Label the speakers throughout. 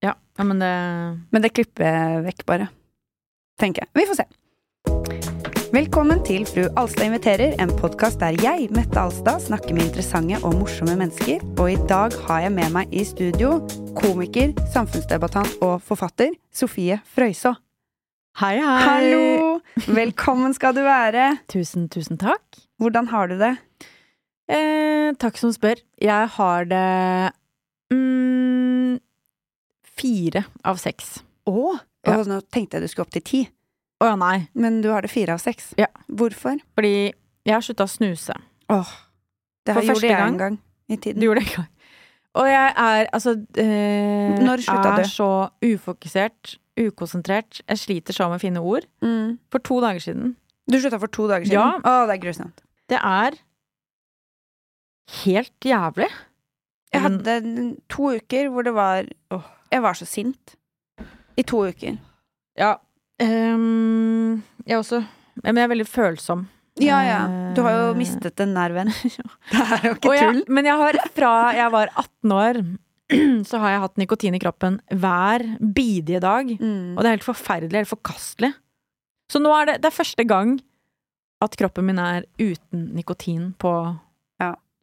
Speaker 1: Ja, ja men det
Speaker 2: Men det klipper jeg vekk, bare. Tenker jeg. Vi får se. Velkommen til Fru Alstad inviterer, en podkast der jeg, Mette Alstad, snakker med interessante og morsomme mennesker. Og i dag har jeg med meg i studio komiker, samfunnsdebattant og forfatter Sofie Frøysaa.
Speaker 1: Hei, hei!
Speaker 2: Hallo! Velkommen skal du være.
Speaker 1: Tusen, tusen takk.
Speaker 2: Hvordan har du det?
Speaker 1: Eh, takk som spør. Jeg har det mm, fire av seks.
Speaker 2: Å?
Speaker 1: Ja.
Speaker 2: nå tenkte jeg du skulle opp til ti,
Speaker 1: Å ja, nei.
Speaker 2: men du har det fire av seks.
Speaker 1: Ja.
Speaker 2: Hvorfor?
Speaker 1: Fordi jeg har slutta å snuse.
Speaker 2: Åh, det
Speaker 1: For
Speaker 2: har gjorde
Speaker 1: første
Speaker 2: jeg
Speaker 1: gang.
Speaker 2: en gang i tiden.
Speaker 1: Du gjorde det en gang. Og jeg er altså eh,
Speaker 2: Når slutta
Speaker 1: er
Speaker 2: du?
Speaker 1: så ufokusert, ukonsentrert. Jeg sliter så med å finne ord.
Speaker 2: mm.
Speaker 1: For to dager siden.
Speaker 2: Du slutta for to dager siden?
Speaker 1: Ja.
Speaker 2: Å, det er grusomt.
Speaker 1: Det er helt jævlig.
Speaker 2: Jeg
Speaker 1: Men-
Speaker 2: hadde n- to uker hvor det var
Speaker 1: Åh.
Speaker 2: Jeg var så sint. I to uker.
Speaker 1: Ja. ehm, jeg også. Men jeg er veldig følsom.
Speaker 2: Ja, ja. Du har jo
Speaker 1: Eh.
Speaker 2: mistet en nær venn. Det er jo
Speaker 1: Og jeg, men jeg har fra jeg var 18 år, så har jeg hatt nikotin i kroppen hver bidige dag.
Speaker 2: Mm.
Speaker 1: Og det er helt forferdelig, helt forkastelig. Så nå er det, det er første gang at kroppen min er uten nikotin på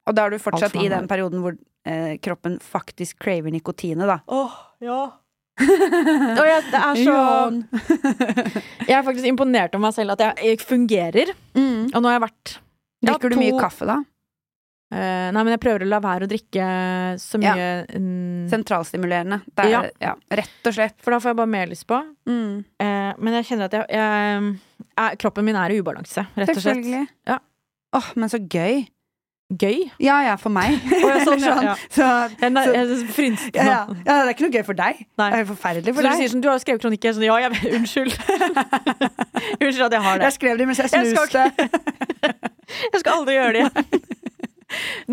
Speaker 2: Og da er du fortsatt
Speaker 1: Alt for
Speaker 2: i
Speaker 1: nær.
Speaker 2: den perioden hvor eh, kroppen faktisk craver nikotinet, da.
Speaker 1: Åh, ja. Og jeg, det er så Jeg er faktisk imponert over meg selv at jeg, jeg fungerer.
Speaker 2: Mm.
Speaker 1: Og nå har jeg vært Ja,
Speaker 2: Drikker du mye
Speaker 1: to-
Speaker 2: kaffe, da?
Speaker 1: eh, Nei, men jeg prøver å la være å drikke så
Speaker 2: Ja.
Speaker 1: mye mm,
Speaker 2: Sentralstimulerende. Det er, ja.
Speaker 1: Ja.
Speaker 2: Rett og slett.
Speaker 1: For da får jeg bare mer lyst på.
Speaker 2: Mm.
Speaker 1: Eh, men jeg kjenner at jeg, jeg, jeg Kroppen min er i ubalanse, rett og slett.
Speaker 2: Selvfølgelig.
Speaker 1: Ja.
Speaker 2: Åh, men så gøy.
Speaker 1: Gøy.
Speaker 2: Ja ja, for meg.
Speaker 1: ja, sånn, ja, ja.
Speaker 2: Så
Speaker 1: Jeg,
Speaker 2: Så-
Speaker 1: jeg, jeg frynser
Speaker 2: Ja,
Speaker 1: nå.
Speaker 2: ja. ja, det er ikke noe gøy for deg.
Speaker 1: Nei.
Speaker 2: Det er forferdelig
Speaker 1: Så
Speaker 2: for
Speaker 1: du
Speaker 2: deg.
Speaker 1: sier sånn, du har jo skrevet kronikker. Sånn, ja, jeg vet, unnskyld. unnskyld at jeg har det.
Speaker 2: Jeg skrev det mens jeg
Speaker 1: Jeg skal
Speaker 2: snuste.
Speaker 1: Jeg skal aldri gjøre det igjen.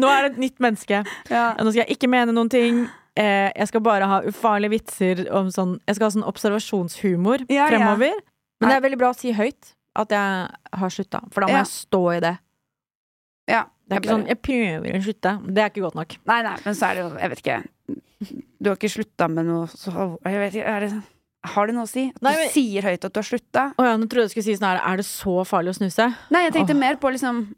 Speaker 1: Nå er det et nytt menneske.
Speaker 2: ja.
Speaker 1: Nå skal jeg ikke mene noen ting. Eh, jeg skal bare ha ufarlige vitser om sånn Jeg skal ha sånn observasjonshumor
Speaker 2: Ja, ja.
Speaker 1: fremover. Men
Speaker 2: Nei.
Speaker 1: det er veldig bra å si høyt at jeg har slutta, for da må
Speaker 2: Ja.
Speaker 1: jeg stå i det.
Speaker 2: Ja,
Speaker 1: Det er ikke sånn 'jeg prøver å slutte'. Det er ikke godt nok.
Speaker 2: Nei, nei, men så er det jo Jeg vet ikke. Du har ikke slutta med noe så jeg vet ikke, er det, Har det noe å si? At
Speaker 1: Nei, men-
Speaker 2: du sier høyt at du har slutta?
Speaker 1: Å ja, nå trodde jeg du skulle si sånn her 'er det så farlig å snuse'?
Speaker 2: Nei, jeg tenkte
Speaker 1: Åh.
Speaker 2: mer på liksom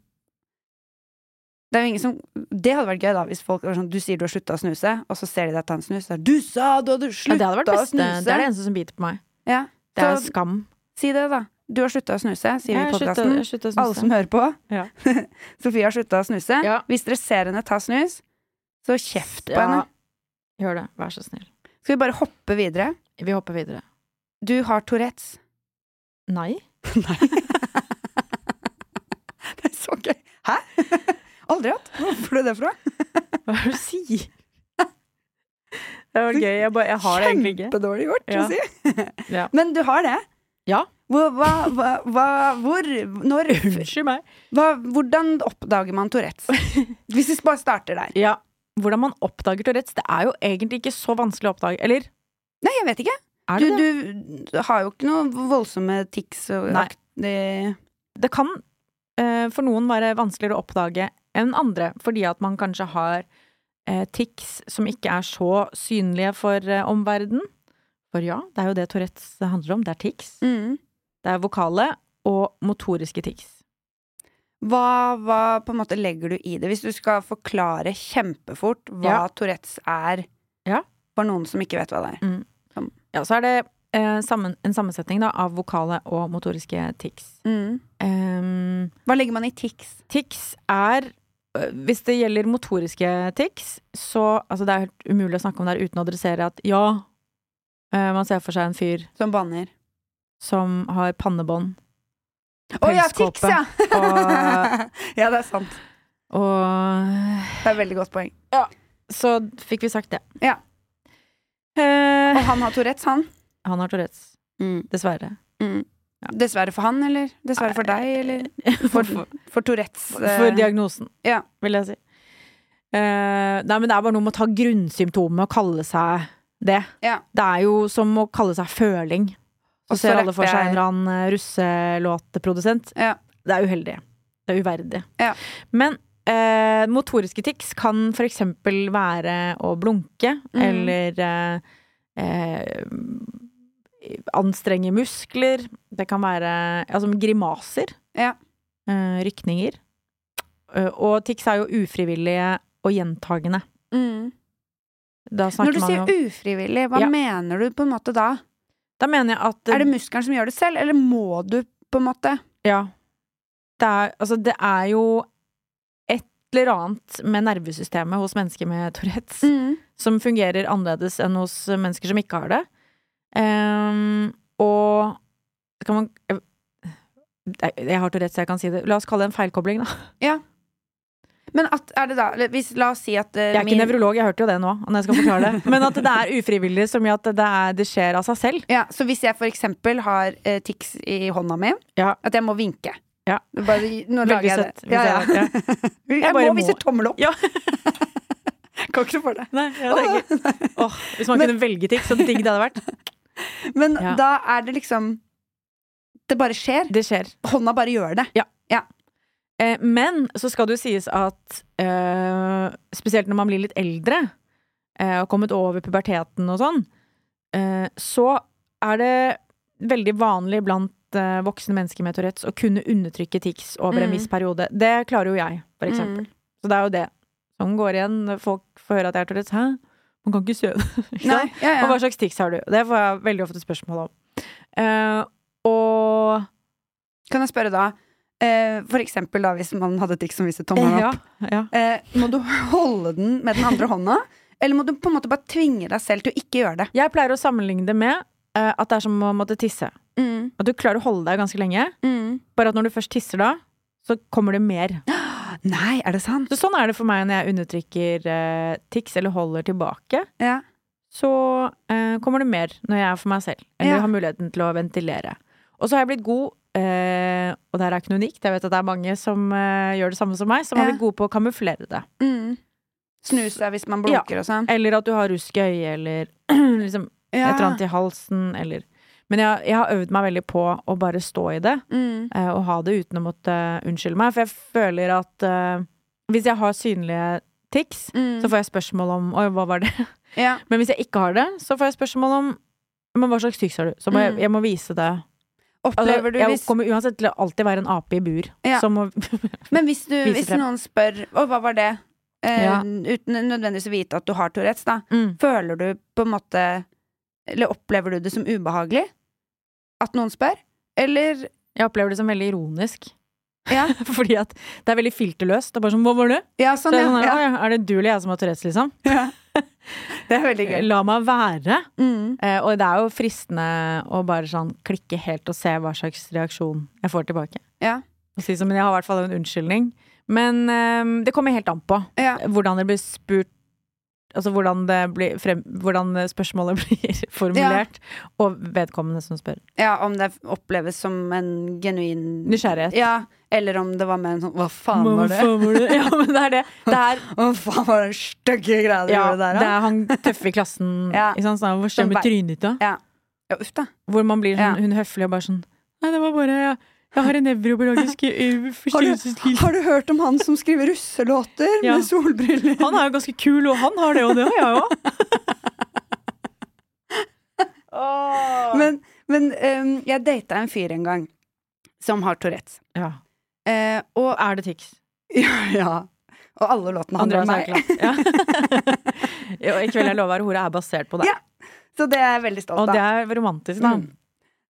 Speaker 2: det, er jo ingen som, det hadde vært gøy da hvis folk var sånn Du sier du har slutta å snuse, og så ser de deg ta en snus. og Du sa du hadde
Speaker 1: Ja, det
Speaker 2: slutta
Speaker 1: hadde vært
Speaker 2: å
Speaker 1: beste.
Speaker 2: snuse!
Speaker 1: Det er det eneste som biter på meg.
Speaker 2: Ja.
Speaker 1: Det er
Speaker 2: Så
Speaker 1: skam.
Speaker 2: si det, da. Du har slutta å snuse, sier vi
Speaker 1: Jeg
Speaker 2: i
Speaker 1: slutta-
Speaker 2: podkasten.
Speaker 1: jeg slutta å
Speaker 2: Alle
Speaker 1: snuse.
Speaker 2: som hører på.
Speaker 1: Ja.
Speaker 2: Sofie har slutta å snuse.
Speaker 1: Ja.
Speaker 2: Hvis dere ser henne ta snus, så kjeft på
Speaker 1: Ja.
Speaker 2: henne.
Speaker 1: Gjør det, vær så snill.
Speaker 2: Skal vi bare hoppe videre?
Speaker 1: Vi hopper videre.
Speaker 2: Du har Tourettes.
Speaker 1: Nei.
Speaker 2: Det er så gøy. Hæ? Aldri hatt. Hvor får du det fra?
Speaker 1: Hva er det du sier? Det var gøy. Jeg, bare, jeg har det egentlig ikke.
Speaker 2: Kjempedårlig gjort å
Speaker 1: Ja.
Speaker 2: si.
Speaker 1: Ja.
Speaker 2: Men du har det.
Speaker 1: Ja.
Speaker 2: Hvor, hva, hva, hva, hvor når
Speaker 1: Unnskyld meg.
Speaker 2: hva, Hvordan oppdager man Tourettes? Hvis vi bare starter der.
Speaker 1: Ja. Hvordan man oppdager Tourettes, det er jo egentlig ikke så vanskelig å oppdage. Eller
Speaker 2: Nei, jeg vet ikke.
Speaker 1: er
Speaker 2: Du,
Speaker 1: det det?
Speaker 2: du har jo ikke noe voldsomme tics og
Speaker 1: Nei.
Speaker 2: akt- det-
Speaker 1: Det kan eh, for noen være vanskeligere å oppdage enn andre, fordi at man kanskje har eh, tics som ikke er så synlige for eh, omverdenen. For ja, det er jo det Tourettes handler om. Det er tics.
Speaker 2: Mm.
Speaker 1: Det er vokale og motoriske tics.
Speaker 2: Hva, hva på en måte legger du i det? Hvis du skal forklare kjempefort hva
Speaker 1: Ja.
Speaker 2: Tourettes er
Speaker 1: Ja.
Speaker 2: for noen som ikke vet hva det er.
Speaker 1: Ja, så er det eh, sammen, en sammensetning da, av vokale og motoriske tics. Ehm,
Speaker 2: Mm. Hva legger man i tics?
Speaker 1: tics er øh, Hvis det gjelder motoriske tics, så altså Det er helt umulig å snakke om det her uten å adressere at ja, eh, man ser for seg en fyr
Speaker 2: Som banner.
Speaker 1: som har pannebånd
Speaker 2: Å ja,
Speaker 1: Pelskåpe.
Speaker 2: tics, ja!
Speaker 1: og,
Speaker 2: ja, det er sant.
Speaker 1: og
Speaker 2: Det er et veldig godt poeng.
Speaker 1: Så fikk vi sagt det.
Speaker 2: Ja.
Speaker 1: Eh,
Speaker 2: Og han har Tourettes, han.
Speaker 1: han har Tourettes.
Speaker 2: Mm.
Speaker 1: Dessverre.
Speaker 2: Mm.
Speaker 1: Ja.
Speaker 2: Dessverre for han, eller dessverre for deg, eller
Speaker 1: For,
Speaker 2: for, for Tourettes
Speaker 1: for
Speaker 2: eh,
Speaker 1: diagnosen,
Speaker 2: ja.
Speaker 1: vil jeg si. Eh, nei, men det er bare noe med å ta grunnsymptomet og kalle seg det.
Speaker 2: Ja.
Speaker 1: Det er jo som å kalle seg føling.
Speaker 2: Og
Speaker 1: Så
Speaker 2: så
Speaker 1: ser alle for
Speaker 2: rapper
Speaker 1: seg en
Speaker 2: jeg-
Speaker 1: eller annen eh, russelåtprodusent.
Speaker 2: Ja.
Speaker 1: Det er uheldig. Det er uverdig.
Speaker 2: Ja.
Speaker 1: Men eh, motoriske tics kan for eksempel være å blunke,
Speaker 2: Mhm.
Speaker 1: eller eh, eh, anstrenge muskler. Det kan være altså, grimaser.
Speaker 2: Ja.
Speaker 1: Eh, rykninger. Eh, og tics er jo ufrivillige og gjentagende.
Speaker 2: Mm.
Speaker 1: Da
Speaker 2: Når
Speaker 1: snakker
Speaker 2: du
Speaker 1: man jo
Speaker 2: sier ufrivillig, hva
Speaker 1: Ja.
Speaker 2: mener du på en måte da?
Speaker 1: Da mener jeg at
Speaker 2: Er det muskelen som gjør det selv, eller må du på en måte?
Speaker 1: Ja. Det er, altså, det er jo et eller annet med nervesystemet hos mennesker med Tourettes
Speaker 2: Mm.
Speaker 1: som fungerer annerledes enn hos mennesker som ikke har det. Ehm, og kan man jeg, jeg har Tourettes, jeg kan si det. La oss kalle det en feilkobling, da.
Speaker 2: Men at, er det da eller hvis, La oss si at eh,
Speaker 1: Jeg er ikke
Speaker 2: min-
Speaker 1: nevrolog, jeg hørte jo det nå. Når jeg skal forklare det Men at det er ufrivillig, som i at det, er, det skjer av seg selv.
Speaker 2: Ja, så hvis jeg for eksempel har eh, tics i hånda mi,
Speaker 1: Ja.
Speaker 2: at jeg må vinke
Speaker 1: Ja.
Speaker 2: Det er Bare, nå lager jeg
Speaker 1: søtt.
Speaker 2: det. Ja, ja.
Speaker 1: Ja.
Speaker 2: Jeg,
Speaker 1: Jeg bare
Speaker 2: må
Speaker 1: må.
Speaker 2: vise tommel opp.
Speaker 1: Ja.
Speaker 2: kan ikke noe for det.
Speaker 1: Nei, jeg tenker, åh, hvis man
Speaker 2: Men-
Speaker 1: kunne velge ting, så digg det hadde vært.
Speaker 2: Men
Speaker 1: Ja.
Speaker 2: da er det liksom Det bare skjer.
Speaker 1: Det skjer.
Speaker 2: Hånda bare gjør det.
Speaker 1: Eh, men så skal det jo sies at eh, spesielt når man blir litt eldre eh, og kommet over puberteten og sånn, eh, så er det veldig vanlig blant eh, voksne mennesker med Tourettes å kunne undertrykke tics over en
Speaker 2: Mm.
Speaker 1: viss periode. Det klarer jo jeg, for eksempel. Så det er jo det som går igjen. når Folk får høre at jeg har Tourettes. Hæ? Man kan ikke se det. Ikke
Speaker 2: Nei,
Speaker 1: sant?
Speaker 2: ja,
Speaker 1: Og
Speaker 2: ja.
Speaker 1: hva slags tics har du? Det får jeg veldig ofte spørsmål om. Eh, og
Speaker 2: Kan jeg spørre da, eh, for eksempel da hvis man hadde tics som viste tommelen opp,
Speaker 1: Ja, ja.
Speaker 2: eh, må du holde den med den andre hånda? Eller må du på en måte bare tvinge deg selv til å ikke gjøre det?
Speaker 1: Jeg pleier å sammenligne det med eh, at det er som å måtte tisse. At du klarer å holde deg ganske lenge, bare at når du først tisser da, så kommer det mer.
Speaker 2: Nei, er det sant?
Speaker 1: Så sånn er det for meg når jeg undertrykker eh, tics eller holder tilbake.
Speaker 2: Ja.
Speaker 1: Så eh, kommer det mer når jeg er for meg selv, eller
Speaker 2: Ja.
Speaker 1: har muligheten til å ventilere. Og så har jeg blitt god, eh, og det her er ikke noe unikt, jeg vet at det er mange som eh, gjør det samme som meg, som har
Speaker 2: Ja.
Speaker 1: blitt god på å kamuflere det.
Speaker 2: Mm. Snu seg hvis man blunker og sånn.
Speaker 1: Eller at du har rusk i øyet, eller liksom et eller annet i halsen, eller Men jeg, jeg har øvd meg veldig på å bare stå i det.
Speaker 2: Mm.
Speaker 1: eh, og ha det uten å måtte eh, unnskylde meg. For jeg føler at eh, hvis jeg har synlige tics,
Speaker 2: Mm.
Speaker 1: så får jeg spørsmål om Oi, hva var det?
Speaker 2: Ja.
Speaker 1: Men hvis jeg ikke har det, så får jeg spørsmål om men hva slags tics har du? Så må jeg,
Speaker 2: Mm.
Speaker 1: jeg må vise det. Altså,
Speaker 2: Opplever du
Speaker 1: jeg
Speaker 2: hvis
Speaker 1: kommer uansett til å alltid være en ape i bur.
Speaker 2: Ja.
Speaker 1: Som må,
Speaker 2: Men hvis, du,
Speaker 1: viser
Speaker 2: hvis
Speaker 1: frem.
Speaker 2: noen spør Å, hva var det? Eh,
Speaker 1: Ja.
Speaker 2: Uten nødvendigvis å vite at du har Tourettes, da.
Speaker 1: mm.
Speaker 2: Føler du på en måte Eller opplever du det som ubehagelig? At noen spør? Eller
Speaker 1: Jeg opplever det som veldig ironisk.
Speaker 2: Ja,
Speaker 1: Fordi at det er veldig filterløst. Det er bare sånn, hva var det?
Speaker 2: ja
Speaker 1: Så
Speaker 2: sånn,
Speaker 1: er, det sånn,
Speaker 2: ja.
Speaker 1: «Å, ja, er det du eller jeg som har Tourettes, liksom?
Speaker 2: Det er veldig
Speaker 1: La meg være.
Speaker 2: Mm.
Speaker 1: Eh, og det er jo fristende å bare sånn klikke helt og se hva slags reaksjon jeg får tilbake.
Speaker 2: Ja.
Speaker 1: Og si som, men jeg har i hvert fall en unnskyldning. Men eh, det kommer helt an på
Speaker 2: Ja.
Speaker 1: hvordan det blir spurt Altså hvordan, det blir frem, hvordan spørsmålet blir formulert, og vedkommende som spør.
Speaker 2: ja, om det oppleves som en genuin
Speaker 1: Nysgjerrighet.
Speaker 2: Ja, eller om det var mer en sånn Hva faen
Speaker 1: Hva
Speaker 2: var det?
Speaker 1: faen var det? Ja, men det er det. Det er,
Speaker 2: Hva faen var den stygge greia du
Speaker 1: ja,
Speaker 2: gjorde der,
Speaker 1: det
Speaker 2: da?
Speaker 1: er han tøffe i klassen.
Speaker 2: Ja.
Speaker 1: ikke sant, sånn,
Speaker 2: Som
Speaker 1: Hvor skjer med
Speaker 2: bare-
Speaker 1: trynet ditt, da?
Speaker 2: Ja, uff, da.
Speaker 1: Hvor man blir
Speaker 2: Ja.
Speaker 1: sånn, hun høflig og bare sånn Nei, det var bare Jeg, jeg har en nevrobiologisk eh, forstyrrelseslidelse.
Speaker 2: Har du hørt om han som skriver russelåter
Speaker 1: Ja.
Speaker 2: med solbriller?
Speaker 1: Han er jo ganske kul, og han har det, og det har jeg òg.
Speaker 2: Men, men ehm, jeg data en fyr en gang som har Tourettes.
Speaker 1: Ja.
Speaker 2: Eh, og
Speaker 1: Er det tics?
Speaker 2: ja. Og alle låtene sånn. handler om meg.
Speaker 1: Ja. Jo, I kveld jeg lover hore er basert på det.
Speaker 2: Ja, Så det er jeg veldig
Speaker 1: og
Speaker 2: stolt
Speaker 1: det
Speaker 2: av.
Speaker 1: er romantisk, da.
Speaker 2: Mm.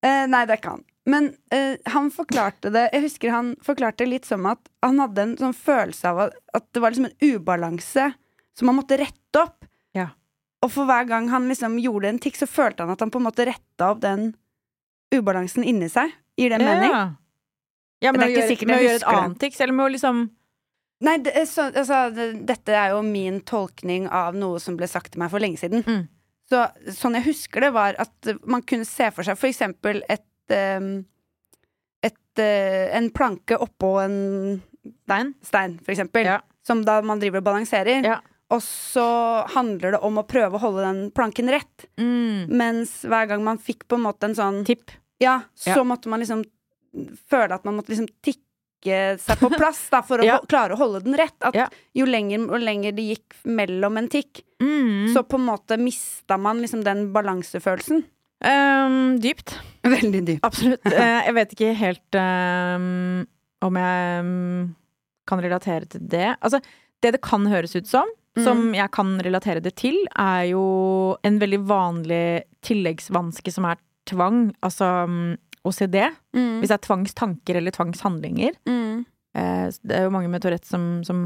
Speaker 2: Eh, nei, det er ikke han. Men eh, han forklarte det Jeg husker han forklarte litt som at han hadde en sånn følelse av at, at det var liksom en ubalanse som han måtte rette opp.
Speaker 1: Ja.
Speaker 2: Og for hver gang han liksom gjorde en tikk, så følte han at han på en måte retta opp den ubalansen inni seg. Gir det mening?
Speaker 1: Ja. Ja,
Speaker 2: Det
Speaker 1: med
Speaker 2: er
Speaker 1: å
Speaker 2: ikke
Speaker 1: gjøre,
Speaker 2: sikkert
Speaker 1: med å
Speaker 2: jeg
Speaker 1: gjøre et
Speaker 2: husker det.
Speaker 1: annet tics, eller med å liksom
Speaker 2: Nei, eh, det, er så, altså, det, dette er jo min tolkning av noe som ble sagt til meg for lenge siden.
Speaker 1: Mm.
Speaker 2: Så sånn jeg husker det, var at eh, man kunne se for seg for eksempel et, eh, et eh, En planke oppå en
Speaker 1: Stein?
Speaker 2: stein, for eksempel.
Speaker 1: Ja.
Speaker 2: Som da man driver og balanserer.
Speaker 1: Ja.
Speaker 2: Og så handler det om å prøve å holde den planken rett.
Speaker 1: Mm.
Speaker 2: Mens hver gang man fikk på en måte en sånn
Speaker 1: Tipp.
Speaker 2: Ja, så
Speaker 1: Ja.
Speaker 2: måtte man liksom føle at man måtte liksom tikke seg på plass da, for å
Speaker 1: Ja.
Speaker 2: ho- klare å holde den rett. At
Speaker 1: Ja.
Speaker 2: jo lenger og lenger det gikk mellom en tikk,
Speaker 1: Mm.
Speaker 2: så på en måte mista man liksom den balansefølelsen.
Speaker 1: Ehm, dypt.
Speaker 2: Veldig dypt.
Speaker 1: Absolutt. Eh, jeg vet ikke helt ehm, om jeg ehm, kan relatere til det. Altså, det det kan høres ut som, som jeg kan relatere det til, er jo en veldig vanlig tilleggsvanske som er tvang, altså mm, OCD.
Speaker 2: Mm.
Speaker 1: Hvis det er tvangstanker eller tvangshandlinger.
Speaker 2: Mm.
Speaker 1: Eh, det er jo mange med Tourettes som, som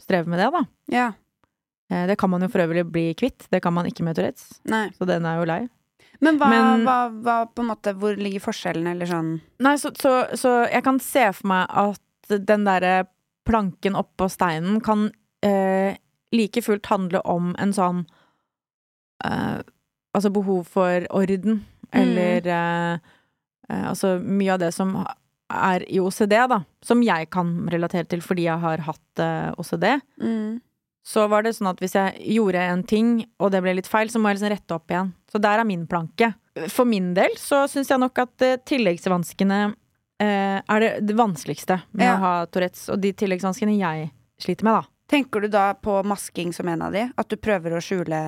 Speaker 1: strever med det, da.
Speaker 2: Ja.
Speaker 1: Eh, det kan man jo for øvrig bli kvitt. Det kan man ikke med Tourettes.
Speaker 2: Nei.
Speaker 1: Så den er jo lei.
Speaker 2: Men hva,
Speaker 1: Men-
Speaker 2: hva, hva på en måte Hvor ligger forskjellene, eller sånn?
Speaker 1: Nei, så, så, så jeg kan se for meg at den derre planken oppå steinen kan eh, like fullt handle om en sånn eh, Altså behov for orden, eller eh, eh, Altså mye av det som ha- er i OCD, da, som jeg kan relatere til fordi jeg har hatt eh, OCD.
Speaker 2: Mm.
Speaker 1: Så var det sånn at hvis jeg gjorde en ting, og det ble litt feil, så må jeg liksom rette opp igjen. Så der er min planke. For min del så syns jeg nok at eh, tilleggsvanskene eh, er det, det vanskeligste med
Speaker 2: Ja.
Speaker 1: å ha Tourettes. Og de tilleggsvanskene jeg sliter med, da.
Speaker 2: Tenker du da på masking som en av de? At du prøver å skjule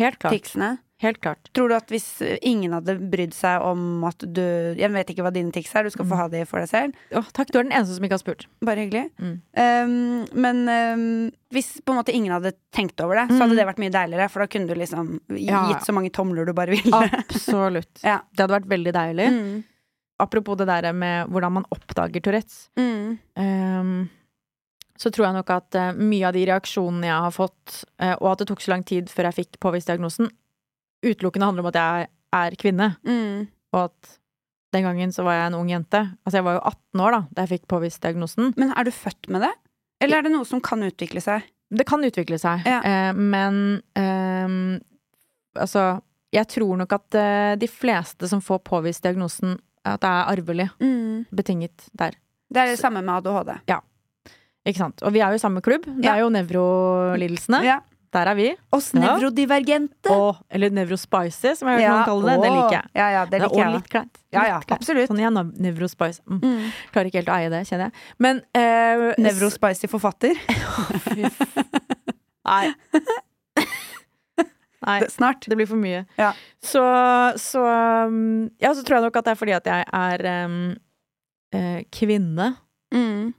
Speaker 1: Helt klart.
Speaker 2: ticsene?
Speaker 1: Helt klart.
Speaker 2: Tror du at hvis ingen hadde brydd seg om at du Jeg vet ikke hva dine tics er, du skal
Speaker 1: Mm.
Speaker 2: få ha de for deg selv.
Speaker 1: Å, takk, du er den eneste som ikke har spurt.
Speaker 2: Bare hyggelig.
Speaker 1: Mm.
Speaker 2: Um, men um, hvis på en måte ingen hadde tenkt over det, så hadde det vært mye deiligere, for da kunne du liksom gi-
Speaker 1: Mm. Ja, ja.
Speaker 2: gitt så mange tomler du bare ville.
Speaker 1: Absolutt.
Speaker 2: Ja.
Speaker 1: Det hadde vært veldig deilig.
Speaker 2: Mm.
Speaker 1: Apropos det der med hvordan man oppdager Tourettes.
Speaker 2: Mm.
Speaker 1: Ehm, så tror jeg nok at eh, mye av de reaksjonene jeg har fått, eh, og at det tok så lang tid før jeg fikk påvist diagnosen, utelukkende handler om at jeg er kvinne,
Speaker 2: Mm.
Speaker 1: og at den gangen så var jeg en ung jente. Altså jeg var jo 18 år da da jeg fikk påvist diagnosen.
Speaker 2: Men er du født med det? Eller er det noe som kan utvikle seg?
Speaker 1: Det kan utvikle seg,
Speaker 2: Ja.
Speaker 1: eh, men ehm, altså Jeg tror nok at eh, de fleste som får påvist diagnosen, at det er arvelig betinget der.
Speaker 2: Mm. Det er det samme med ADHD.
Speaker 1: Ikke sant? Og vi er jo i samme klubb. Det
Speaker 2: Ja.
Speaker 1: er jo nevrolidelsene.
Speaker 2: Ja.
Speaker 1: Der er vi.
Speaker 2: Oss
Speaker 1: Ja.
Speaker 2: nevrodivergente.
Speaker 1: Og, eller nevrospicy, som jeg har hørt noen kalle det. Det
Speaker 2: åh.
Speaker 1: liker jeg.
Speaker 2: Ja, ja, det
Speaker 1: Det er
Speaker 2: liker
Speaker 1: også
Speaker 2: jeg.
Speaker 1: litt kleint.
Speaker 2: Ja, ja,
Speaker 1: Litt kleint.
Speaker 2: absolutt.
Speaker 1: Sånn igjen, da. Nevrospice. Mm.
Speaker 2: Mm.
Speaker 1: Klarer ikke helt å eie det, kjenner jeg. Men eh, s-
Speaker 2: Nevrospicy forfatter.
Speaker 1: fy f- Nei. Nei.
Speaker 2: Det- Snart.
Speaker 1: Det blir for mye.
Speaker 2: Ja.
Speaker 1: Så, så um, Ja, så tror jeg nok at det er fordi at jeg er um, eh, kvinne.
Speaker 2: Mm.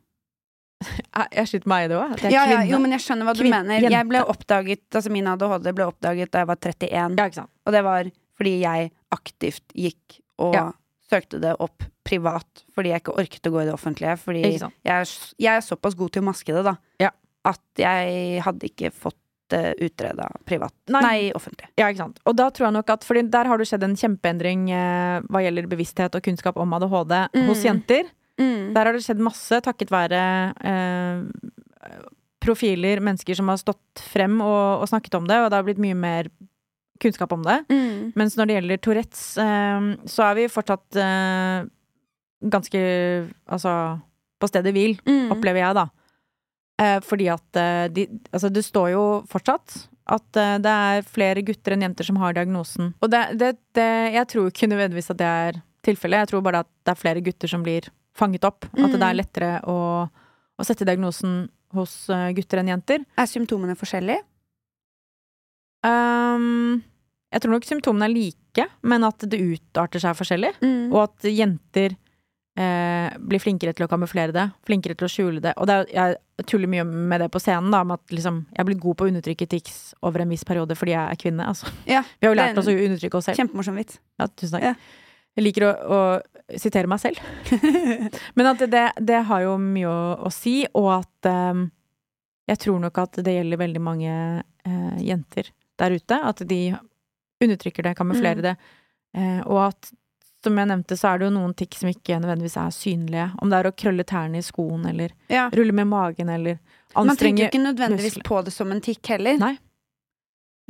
Speaker 1: Jeg, jeg sliter med å eie det òg. At jeg
Speaker 2: Ja,
Speaker 1: er
Speaker 2: ja,
Speaker 1: kvinne.
Speaker 2: jo, men jeg skjønner hva du
Speaker 1: Kvin-
Speaker 2: mener.
Speaker 1: jente.
Speaker 2: Jeg ble oppdaget, altså Min ADHD ble oppdaget da jeg var 31.
Speaker 1: ja, ikke sant.
Speaker 2: Og det var fordi jeg aktivt gikk og
Speaker 1: Ja.
Speaker 2: søkte det opp privat. Fordi jeg ikke orket å gå i det offentlige. Fordi
Speaker 1: Ikke
Speaker 2: jeg,
Speaker 1: sant.
Speaker 2: er s- jeg er såpass god til å maske det, da,
Speaker 1: Ja.
Speaker 2: at jeg hadde ikke fått det utreda privat.
Speaker 1: Nei.
Speaker 2: Nei, offentlig.
Speaker 1: Ja, ikke sant. Og da tror jeg nok at Fordi der har det skjedd en kjempeendring eh, hva gjelder bevissthet og kunnskap om ADHD hos
Speaker 2: Mm.
Speaker 1: jenter. Der har det skjedd masse takket være eh, profiler, mennesker som har stått frem og, og snakket om det, og det har blitt mye mer kunnskap om det.
Speaker 2: Mm.
Speaker 1: Mens når det gjelder Tourettes, eh, så er vi fortsatt eh, ganske Altså på stedet hvil,
Speaker 2: Mm.
Speaker 1: opplever jeg, da. Eh, fordi at eh, de Altså, det står jo fortsatt at eh, det er flere gutter enn jenter som har diagnosen. Og det, det, det Jeg tror ikke nødvendigvis at det er tilfellet. Jeg tror bare at det er flere gutter som blir fanget opp. At det er lettere å, å sette diagnosen hos eh, gutter enn jenter.
Speaker 2: Er symptomene forskjellige?
Speaker 1: Ehm, jeg tror nok symptomene er like, men at det utarter seg forskjellig.
Speaker 2: Mm.
Speaker 1: Og at jenter eh, blir flinkere til å kamuflere det, flinkere til å skjule det. Og det er, jeg tuller mye med det på scenen, da, om at liksom, jeg blir god på å undertrykke tics over en viss periode fordi jeg er kvinne. Altså.
Speaker 2: Ja,
Speaker 1: Vi har jo
Speaker 2: det
Speaker 1: lært
Speaker 2: er-
Speaker 1: oss å undertrykke oss selv.
Speaker 2: Kjempemorsom vits.
Speaker 1: Ja, tusen takk.
Speaker 2: Ja.
Speaker 1: Jeg liker å, å sitere meg selv. Men at det, det har jo mye å, å si, og at eh, jeg tror nok at det gjelder veldig mange eh, jenter der ute. At de undertrykker det, kamuflerer
Speaker 2: Mm.
Speaker 1: det. Eh, og at, som jeg nevnte, så er det jo noen tikk som ikke nødvendigvis er synlige. Om det er å krølle tærne i skoen, eller
Speaker 2: Ja.
Speaker 1: rulle med magen, eller
Speaker 2: Man tenker jo
Speaker 1: anstrenge
Speaker 2: ikke nødvendigvis
Speaker 1: muskler.
Speaker 2: på det som en tikk heller.
Speaker 1: Nei.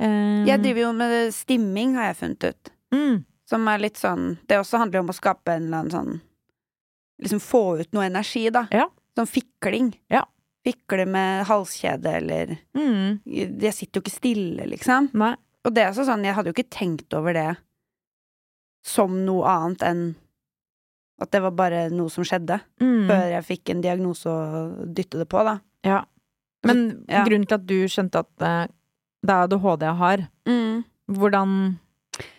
Speaker 1: Eh,
Speaker 2: Jeg driver jo med stimming, har jeg funnet ut.
Speaker 1: mm,
Speaker 2: Som er litt sånn Det også handler om å skape en eller annen sånn Liksom få ut noe energi, da.
Speaker 1: Ja.
Speaker 2: Sånn fikling.
Speaker 1: Ja.
Speaker 2: Fikle med halskjede eller
Speaker 1: mm,
Speaker 2: Jeg sitter jo ikke stille, liksom.
Speaker 1: Nei.
Speaker 2: Og det er også sånn, jeg hadde jo ikke tenkt over det som noe annet enn at det var bare noe som skjedde,
Speaker 1: Mm,
Speaker 2: før jeg fikk en diagnose og dytte det på, da.
Speaker 1: ja. Men
Speaker 2: Ja.
Speaker 1: grunnen til at du skjønte at eh, det er ADHD jeg har, Mm. hvordan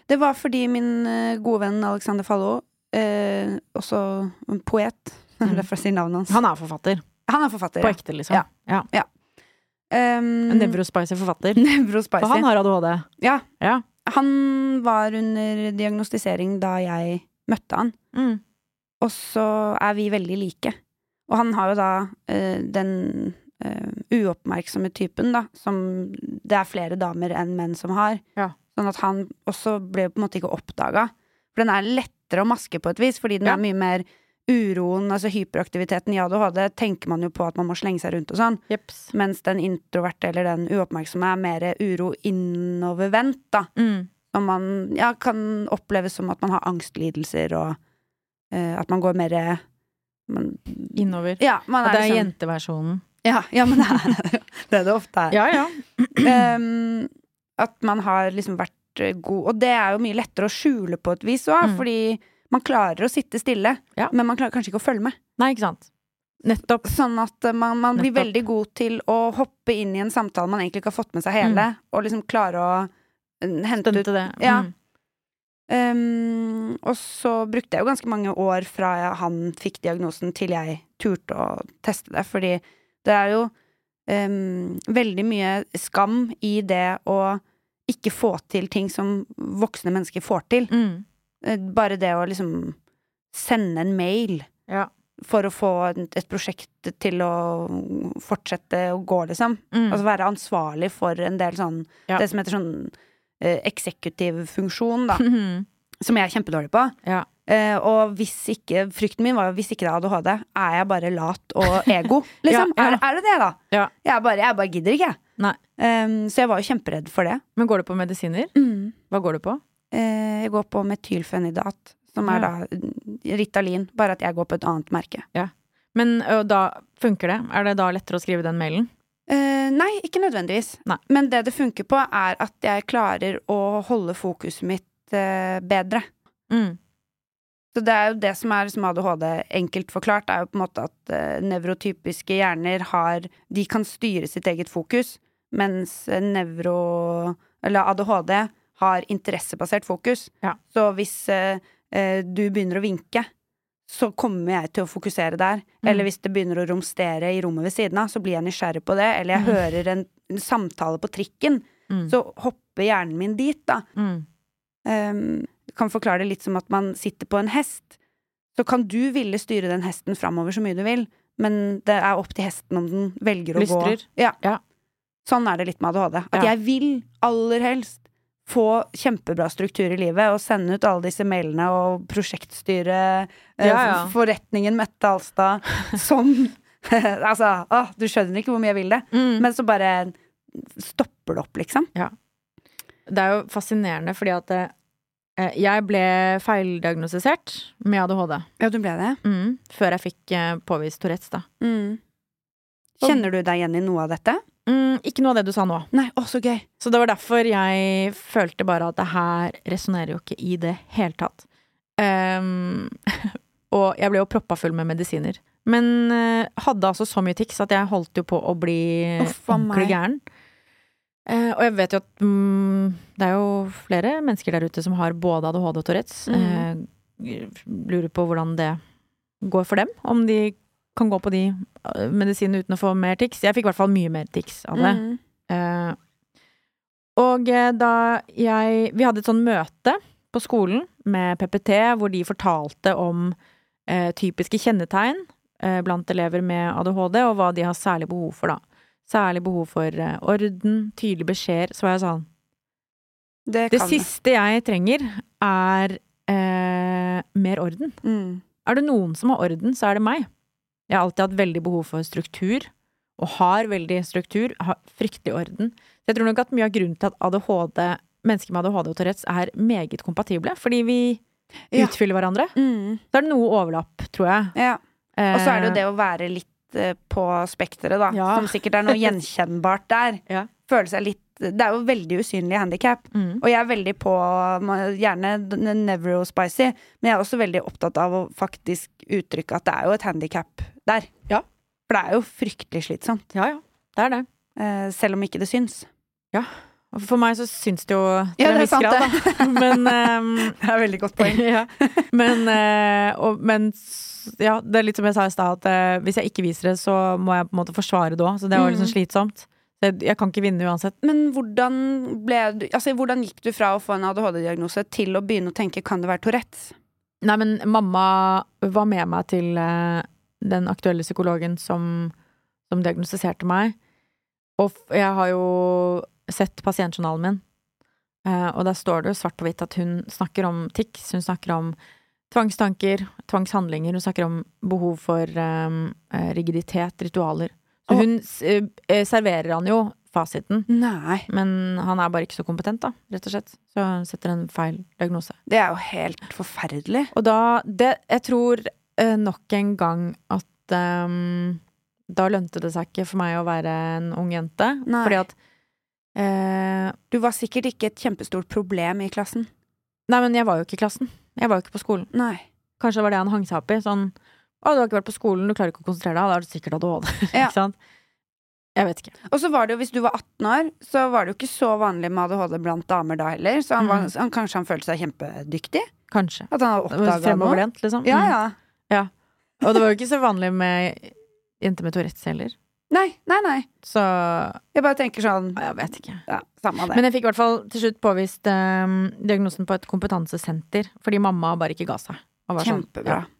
Speaker 2: Det var fordi min eh, gode venn Alexander Fallo, eh, også en poet Det
Speaker 1: Mm.
Speaker 2: er derfor jeg sier navnet hans.
Speaker 1: Han er forfatter.
Speaker 2: Han er forfatter.
Speaker 1: På
Speaker 2: ja.
Speaker 1: ekte, liksom.
Speaker 2: Ja.
Speaker 1: Ja.
Speaker 2: Um,
Speaker 1: En Nevrospicy
Speaker 2: Mm.
Speaker 1: forfatter.
Speaker 2: Nevrospicy.
Speaker 1: For han
Speaker 2: Han,
Speaker 1: har ADHD.
Speaker 2: ja.
Speaker 1: Ja.
Speaker 2: han var under diagnostisering da jeg møtte han,
Speaker 1: Mm.
Speaker 2: og så er vi veldig like. Og han har jo da eh, den eh, uoppmerksomme typen, da, som det er flere damer enn menn som har.
Speaker 1: Ja.
Speaker 2: Sånn at han også ble på en måte ikke oppdaga. For den er lettere å maske på et vis, fordi den
Speaker 1: Ja.
Speaker 2: er mye mer uroen, altså hyperaktiviteten i ADHD, tenker man jo på at man må slenge seg rundt og sånn.
Speaker 1: Jeps.
Speaker 2: Mens den introverte eller den uoppmerksomme er mer uro innovervendt, da.
Speaker 1: Mm.
Speaker 2: Når man ja, kan oppleves som at man har angstlidelser og eh, at man går mer eh, man,
Speaker 1: Innover.
Speaker 2: Ja, man
Speaker 1: Og
Speaker 2: er,
Speaker 1: det er
Speaker 2: liksom
Speaker 1: jenteversjonen.
Speaker 2: ja, ja, men det er det er det ofte er.
Speaker 1: Ja, ja.
Speaker 2: Ehm, at man har liksom vært eh, god Og det er jo mye lettere å skjule på et vis òg,
Speaker 1: Mm.
Speaker 2: fordi man klarer å sitte stille,
Speaker 1: Ja.
Speaker 2: men man klarer kanskje ikke å følge med.
Speaker 1: Nei, ikke sant. Nettopp.
Speaker 2: Sånn at eh, man, man blir
Speaker 1: Nettopp.
Speaker 2: veldig god til å hoppe inn i en samtale man egentlig ikke har fått med seg hele, og liksom klare å eh, hente ut
Speaker 1: Stemte det.
Speaker 2: Ja.
Speaker 1: Mm.
Speaker 2: Ehm, Og så brukte jeg jo ganske mange år fra jeg, han fikk diagnosen, til jeg turte å teste det, fordi det er jo ehm, veldig mye skam i det å ikke få til ting som voksne mennesker får til.
Speaker 1: Mm.
Speaker 2: Eh, Bare det å liksom sende en mail
Speaker 1: Ja.
Speaker 2: for å få en- et prosjekt til å fortsette å gå, liksom.
Speaker 1: Mm.
Speaker 2: Altså være ansvarlig for en del sånn
Speaker 1: Ja.
Speaker 2: Det som heter sånn eh, eksekutiv funksjon, da.
Speaker 1: Mhm.
Speaker 2: Som jeg er kjempedårlig på.
Speaker 1: ja.
Speaker 2: Eh, og hvis ikke Frykten min var jo hvis ikke det er ADHD, er jeg bare lat og ego, liksom?
Speaker 1: Ja, ja.
Speaker 2: Er, er det det, da?
Speaker 1: Ja.
Speaker 2: Jeg, bare, jeg bare gidder ikke, jeg.
Speaker 1: Nei.
Speaker 2: Em, så jeg var jo kjemperedd for det.
Speaker 1: Men går det på medisiner? Hva går det på?
Speaker 2: Eh, jeg går på metylfenidat, som er
Speaker 1: Ja.
Speaker 2: da mm, Ritalin, bare at jeg går på et annet merke.
Speaker 1: Men ø, da funker det? Er det da lettere å skrive den mailen?
Speaker 2: Eh, nei, ikke nødvendigvis.
Speaker 1: Nei.
Speaker 2: Men det det funker på, er at jeg klarer å holde fokuset mitt eh, bedre.
Speaker 1: Mm.
Speaker 2: Så det er jo det som er som ADHD enkelt forklart, er jo på en måte at eh, nevrotypiske hjerner har De kan styre sitt eget fokus, mens eh, nevro... Eller ADHD har interessebasert fokus.
Speaker 1: Ja.
Speaker 2: Så hvis eh, eh, du begynner å vinke, så kommer jeg til å fokusere der.
Speaker 1: Mm.
Speaker 2: Eller hvis det begynner å romstere i rommet ved siden av, så blir jeg nysgjerrig på det. Eller jeg
Speaker 1: Mm.
Speaker 2: hører en, en samtale på trikken,
Speaker 1: Mm.
Speaker 2: så hopper hjernen min dit, da
Speaker 1: Mm.
Speaker 2: um, kan forklare det litt som at man sitter på en hest. Så kan du ville styre den hesten framover så mye du vil, men det er opp til hesten om den velger å
Speaker 1: Lystrer.
Speaker 2: gå. Ja.
Speaker 1: Ja.
Speaker 2: Sånn er det litt med ADHD. At
Speaker 1: Ja.
Speaker 2: jeg vil aller helst få kjempebra struktur i livet og sende ut alle disse mailene og prosjektstyre eh,
Speaker 1: Ja, ja.
Speaker 2: forretningen Mette Alstad som Altså, åh, du skjønner ikke hvor mye jeg vil det.
Speaker 1: Mm.
Speaker 2: Men så bare stopper det opp, liksom.
Speaker 1: Det er jo fascinerende fordi at eh, jeg ble feildiagnostisert med ADHD
Speaker 2: Ja, du ble det?
Speaker 1: mm. før jeg fikk eh, påvist Tourettes, da.
Speaker 2: Mm. Kjenner du deg igjen i noe av dette?
Speaker 1: Mm, ikke noe av det du sa nå.
Speaker 2: Nei, å, så gøy.
Speaker 1: Så det var derfor jeg følte bare at det her resonnerer jo ikke i det hele tatt. Ehm, og jeg ble jo proppa full med medisiner. Men eh, hadde altså så mye tics at jeg holdt jo på å bli
Speaker 2: Uff, a meg.
Speaker 1: ordentlig gæren. Eh, og jeg vet jo at mm, det er jo flere mennesker der ute som har både ADHD og Tourettes.
Speaker 2: Mhm.
Speaker 1: Eh, lurer på hvordan det går for dem. Om de kan gå på de eh, medisinene uten å få mer tics. Jeg fikk i hvert fall mye mer tics av det.
Speaker 2: Mm.
Speaker 1: Eh, og eh, da jeg Vi hadde et sånn møte på skolen med PPT, hvor de fortalte om eh, typiske kjennetegn eh, blant elever med ADHD, og hva de har særlig behov for, da. Særlig behov for eh, orden, tydelige beskjeder. Så var jeg sånn
Speaker 2: Det,
Speaker 1: Det
Speaker 2: kan jeg.
Speaker 1: siste jeg trenger, er eh, mer orden.
Speaker 2: Mm.
Speaker 1: Er det noen som har orden, så er det meg. Jeg har alltid hatt veldig behov for struktur og har veldig struktur, har fryktelig orden. Så jeg tror nok at mye av grunnen til at ADHD, mennesker med ADHD og Tourettes er meget kompatible, fordi vi
Speaker 2: Ja.
Speaker 1: utfyller hverandre.
Speaker 2: Mm.
Speaker 1: Så er det noe overlapp, tror jeg.
Speaker 2: Ja. Og så er det jo det å være litt eh, på spekteret, da.
Speaker 1: Ja.
Speaker 2: Som sikkert er noe gjenkjennbart der.
Speaker 1: Ja.
Speaker 2: Føle seg litt Det er jo veldig usynlige handikap.
Speaker 1: Mm.
Speaker 2: Og jeg er veldig på ma- gjerne d- nevrospicy, men jeg er også veldig opptatt av å faktisk uttrykke at det er jo et handikap der.
Speaker 1: Ja.
Speaker 2: For det er jo fryktelig slitsomt.
Speaker 1: Ja, ja. Det er det.
Speaker 2: eh, Selv om ikke det syns.
Speaker 1: Og For meg så syns det jo til
Speaker 2: Ja, det
Speaker 1: en
Speaker 2: er
Speaker 1: viss
Speaker 2: sant,
Speaker 1: grad, da. Men ehm,
Speaker 2: Det er et veldig godt
Speaker 1: ja. Men, eh, og, men s- ja, det er litt som jeg sa i stad, at eh, hvis jeg ikke viser det, så må jeg på en måte forsvare det òg. Så det var litt sånn slitsomt. Så Jeg, jeg kan ikke vinne uansett.
Speaker 2: Men hvordan, ble du, altså, hvordan gikk du fra å få en ADHD-diagnose til å begynne å tenke kan det være Tourettes?
Speaker 1: Nei, men mamma var med meg til eh, den aktuelle psykologen som, som diagnostiserte meg. Og f- jeg har jo sett pasientjournalen min, eh, og der står det jo svart på hvitt at hun snakker om tics, hun snakker om tvangstanker, tvangshandlinger, hun snakker om behov for eh, eh, rigiditet, ritualer. Så
Speaker 2: Og-
Speaker 1: hun s- eh, eh, serverer han jo fasiten,
Speaker 2: Nei.
Speaker 1: men han er bare ikke så kompetent, da, rett og slett. Så han setter en feil diagnose.
Speaker 2: Det er jo helt forferdelig.
Speaker 1: Og da det, Jeg tror eh, nok en gang at ehm, da lønte det seg ikke for meg å være en ung jente.
Speaker 2: Nei.
Speaker 1: Fordi at eh,
Speaker 2: Du var sikkert ikke et kjempestort problem i klassen.
Speaker 1: Nei, men jeg var jo ikke i klassen. Jeg var jo ikke på skolen.
Speaker 2: Nei.
Speaker 1: Kanskje det var det han hang seg opp i. Sånn Å, du har ikke vært på skolen, du klarer ikke å konsentrere deg. Da er du sikkert ADHD.
Speaker 2: Ja.
Speaker 1: ikke sant? Jeg vet ikke.
Speaker 2: Og så var det jo, hvis du var 18 år, så var det jo ikke så vanlig med ADHD blant damer da heller. Så han
Speaker 1: Mm.
Speaker 2: var, han, kanskje han følte seg kjempedyktig?
Speaker 1: Kanskje.
Speaker 2: At han hadde oppdaga noe?
Speaker 1: Fremoverlent, liksom.
Speaker 2: Ja, ja.
Speaker 1: Mm. Og det var jo ikke så vanlig med jenter med Tourettes heller.
Speaker 2: Nei, nei, nei.
Speaker 1: Så
Speaker 2: Jeg bare tenker sånn
Speaker 1: jeg vet ikke.
Speaker 2: ja, Samme det.
Speaker 1: Men jeg fikk i hvert fall til slutt påvist ehm, diagnosen på et kompetansesenter, fordi mamma bare ikke ga seg. Og var sånn,
Speaker 2: Kjempebra.
Speaker 1: ja.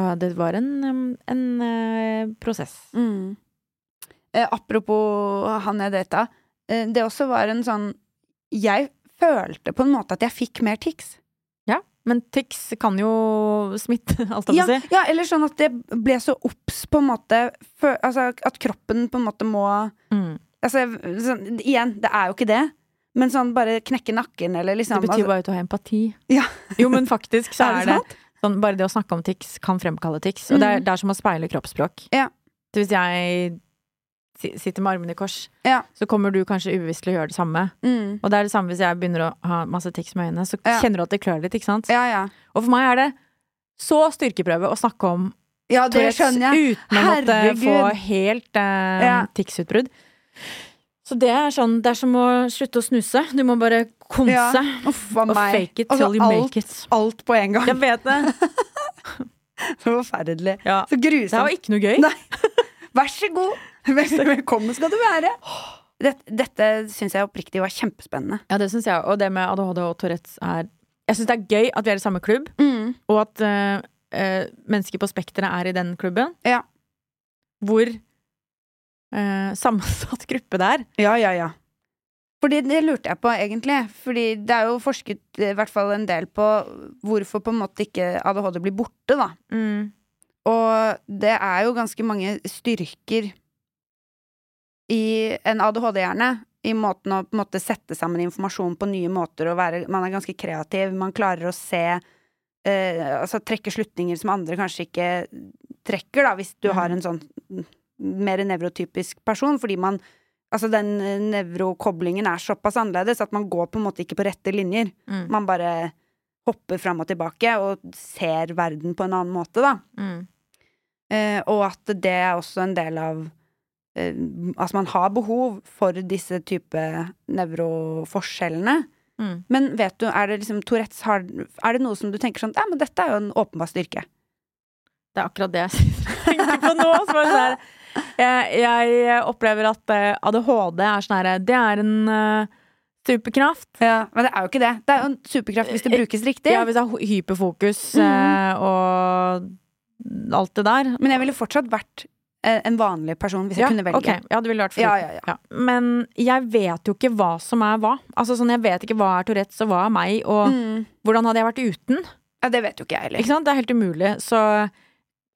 Speaker 1: Så det var en, ehm, en eh, prosess.
Speaker 2: Mm. Eh, apropos han jeg data. Eh, det også var en sånn Jeg følte på en måte at jeg fikk mer tics.
Speaker 1: Men tics kan jo smitte, alt jeg
Speaker 2: Ja,
Speaker 1: må si.
Speaker 2: ja, eller sånn at jeg ble så obs på en måte fø- Altså at kroppen på en måte må
Speaker 1: Mm.
Speaker 2: Altså jeg- sånn, igjen, det er jo ikke det. Men sånn bare knekke nakken eller
Speaker 1: Det
Speaker 2: liksom
Speaker 1: betyr
Speaker 2: altså,
Speaker 1: bare at du har empati.
Speaker 2: Ja.
Speaker 1: jo, men faktisk så
Speaker 2: Er det
Speaker 1: er det sånn Bare det å snakke om tics kan fremkalle tics. Og det er,
Speaker 2: Mm.
Speaker 1: det er som å speile kroppsspråk.
Speaker 2: Ja.
Speaker 1: Så hvis jeg si- sitter med armene i kors,
Speaker 2: Ja.
Speaker 1: så kommer du kanskje ubevisst til å gjøre det samme.
Speaker 2: mm.
Speaker 1: Og det er det samme hvis jeg begynner å ha masse tics med øynene, så
Speaker 2: Ja.
Speaker 1: kjenner du at det klør litt, ikke sant?
Speaker 2: Ja, ja.
Speaker 1: Og for meg er det så styrkeprøve å snakke om
Speaker 2: Ja, det
Speaker 1: Tourettes
Speaker 2: skjønner jeg.
Speaker 1: uten å måtte
Speaker 2: Herregud.
Speaker 1: få helt eh,
Speaker 2: Ja.
Speaker 1: tics-utbrudd. Så det er sånn, det er som å slutte å snuse. Du må bare konse
Speaker 2: Ja, Uff a
Speaker 1: og
Speaker 2: meg.
Speaker 1: fake it
Speaker 2: Altså,
Speaker 1: till you
Speaker 2: alt,
Speaker 1: make it.
Speaker 2: alt på en gang.
Speaker 1: Jeg vet det.
Speaker 2: Forferdelig.
Speaker 1: Ja.
Speaker 2: Så
Speaker 1: Det her var
Speaker 2: grusomt.
Speaker 1: ikke noe gøy.
Speaker 2: Nei. Vær så god. Vel- Velkommen skal du være. Dette, dette syns jeg oppriktig var kjempespennende.
Speaker 1: Ja, det synes jeg. Og det med ADHD og Tourettes er Jeg syns det er gøy at vi er i samme klubb,
Speaker 2: Mm.
Speaker 1: og at eh, eh, mennesker på Spekteret er i den klubben.
Speaker 2: Ja.
Speaker 1: Hvor eh, sammensatt gruppe det er.
Speaker 2: Ja, ja, ja. Fordi det lurte jeg på, egentlig. Fordi det er jo forsket eh, i hvert fall en del på hvorfor på en måte ikke ADHD blir borte, da.
Speaker 1: Mm,
Speaker 2: Og det er jo ganske mange styrker i en ADHD-hjerne. I måten å på en måte sette sammen informasjon på nye måter. Og være, man er ganske kreativ. Man klarer å se eh, Altså trekke slutninger som andre kanskje ikke trekker, da, hvis du
Speaker 1: Mhm.
Speaker 2: har en sånn mm, mer nevrotypisk person. Fordi man Altså den eh, nevrokoblingen er såpass annerledes at man går på en måte ikke på rette linjer.
Speaker 1: Mm.
Speaker 2: Man bare hopper fram og tilbake og ser verden på en annen måte, da.
Speaker 1: Mm.
Speaker 2: Eh, og at det er også en del av eh, Altså, man har behov for disse type nevroforskjellene.
Speaker 1: Mm.
Speaker 2: Men vet du, er det liksom Tourettes har Er det noe som du tenker sånn Ja, men dette er jo en åpenbar styrke.
Speaker 1: Det er akkurat det jeg sitter og tenker på nå. Som er sånn her. jeg, jeg opplever at eh, ADHD er sånn her Det er en eh, superkraft.
Speaker 2: Men det er jo ikke det. Det er jo en superkraft hvis det brukes riktig.
Speaker 1: Eh, Ja, hvis det er hy- hyperfokus eh, og alt det der.
Speaker 2: Men jeg ville fortsatt vært eh, en vanlig person hvis jeg
Speaker 1: Ja,
Speaker 2: kunne velge.
Speaker 1: ok. Ja, du ville vært
Speaker 2: Ja,
Speaker 1: foruten.
Speaker 2: ja, ja.
Speaker 1: Ja. Men jeg vet jo ikke hva som er hva. Altså sånn, Jeg vet ikke hva er Tourettes og hva er meg, og
Speaker 2: Mm.
Speaker 1: hvordan hadde jeg vært uten?
Speaker 2: ja, det vet jo ikke jeg heller.
Speaker 1: Ikke sant? Det er helt umulig. Så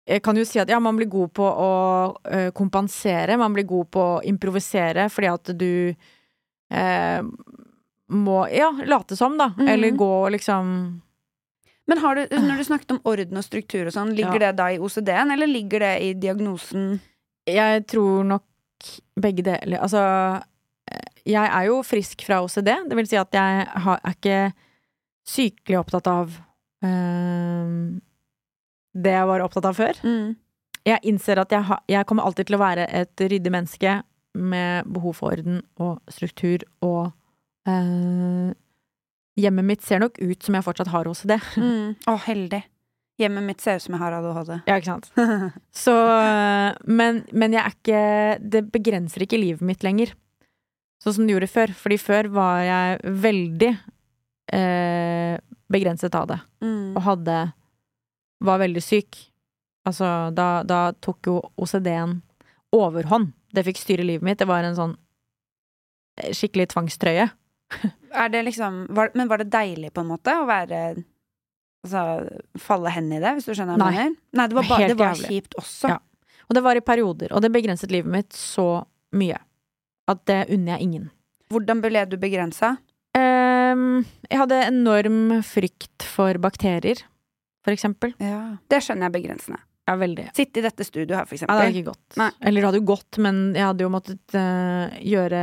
Speaker 1: jeg kan jo si at ja, man blir god på å eh, kompensere, man blir god på å improvisere, fordi at du eh, må ja, late som, da.
Speaker 2: Mhm.
Speaker 1: Eller gå og liksom
Speaker 2: Men har du, når du snakket om orden og struktur og sånn, ligger det da i OCD-en, eller ligger det i diagnosen?
Speaker 1: Jeg tror nok begge deler Altså, eh, jeg er jo frisk fra OCD. Det vil si at jeg har, er ikke sykelig opptatt av eh, det jeg var opptatt av før.
Speaker 2: Mm.
Speaker 1: Jeg innser at jeg, har- jeg kommer alltid til å være et ryddig menneske med behov for orden og struktur og eh, Hjemmet mitt ser nok ut som jeg fortsatt har OCD.
Speaker 2: Mm. Å, heldig. Hjemmet mitt ser ut som jeg har ADHD.
Speaker 1: Ja, ikke sant? Så, eh, men, men jeg er ikke Det begrenser ikke livet mitt lenger. Sånn som det gjorde før. Fordi før var jeg veldig eh, begrenset av det.
Speaker 2: Mm.
Speaker 1: Og hadde Var veldig syk. Altså, da, da tok jo OCD-en overhånd. Det fikk styre livet mitt. Det var en sånn eh, skikkelig tvangstrøye.
Speaker 2: Er det liksom var, Men var det deilig, på en måte, å være Altså falle hen i det, hvis du skjønner hva jeg
Speaker 1: Nei.
Speaker 2: mener? Nei, det var,
Speaker 1: Det var
Speaker 2: bare,
Speaker 1: helt
Speaker 2: det var
Speaker 1: jævlig.
Speaker 2: kjipt også.
Speaker 1: Ja. Og det var i perioder. Og det begrenset livet mitt så mye at det unner jeg ingen.
Speaker 2: Hvordan ble du begrensa?
Speaker 1: Ehm, jeg hadde enorm frykt for bakterier, for eksempel.
Speaker 2: Det skjønner jeg er begrensende.
Speaker 1: Ja, veldig.
Speaker 2: Sitte i dette studioet her, for
Speaker 1: Ja, det hadde
Speaker 2: eksempel.
Speaker 1: ikke gått.
Speaker 2: Nei.
Speaker 1: Eller det hadde jo gått, men jeg hadde jo måttet eh, gjøre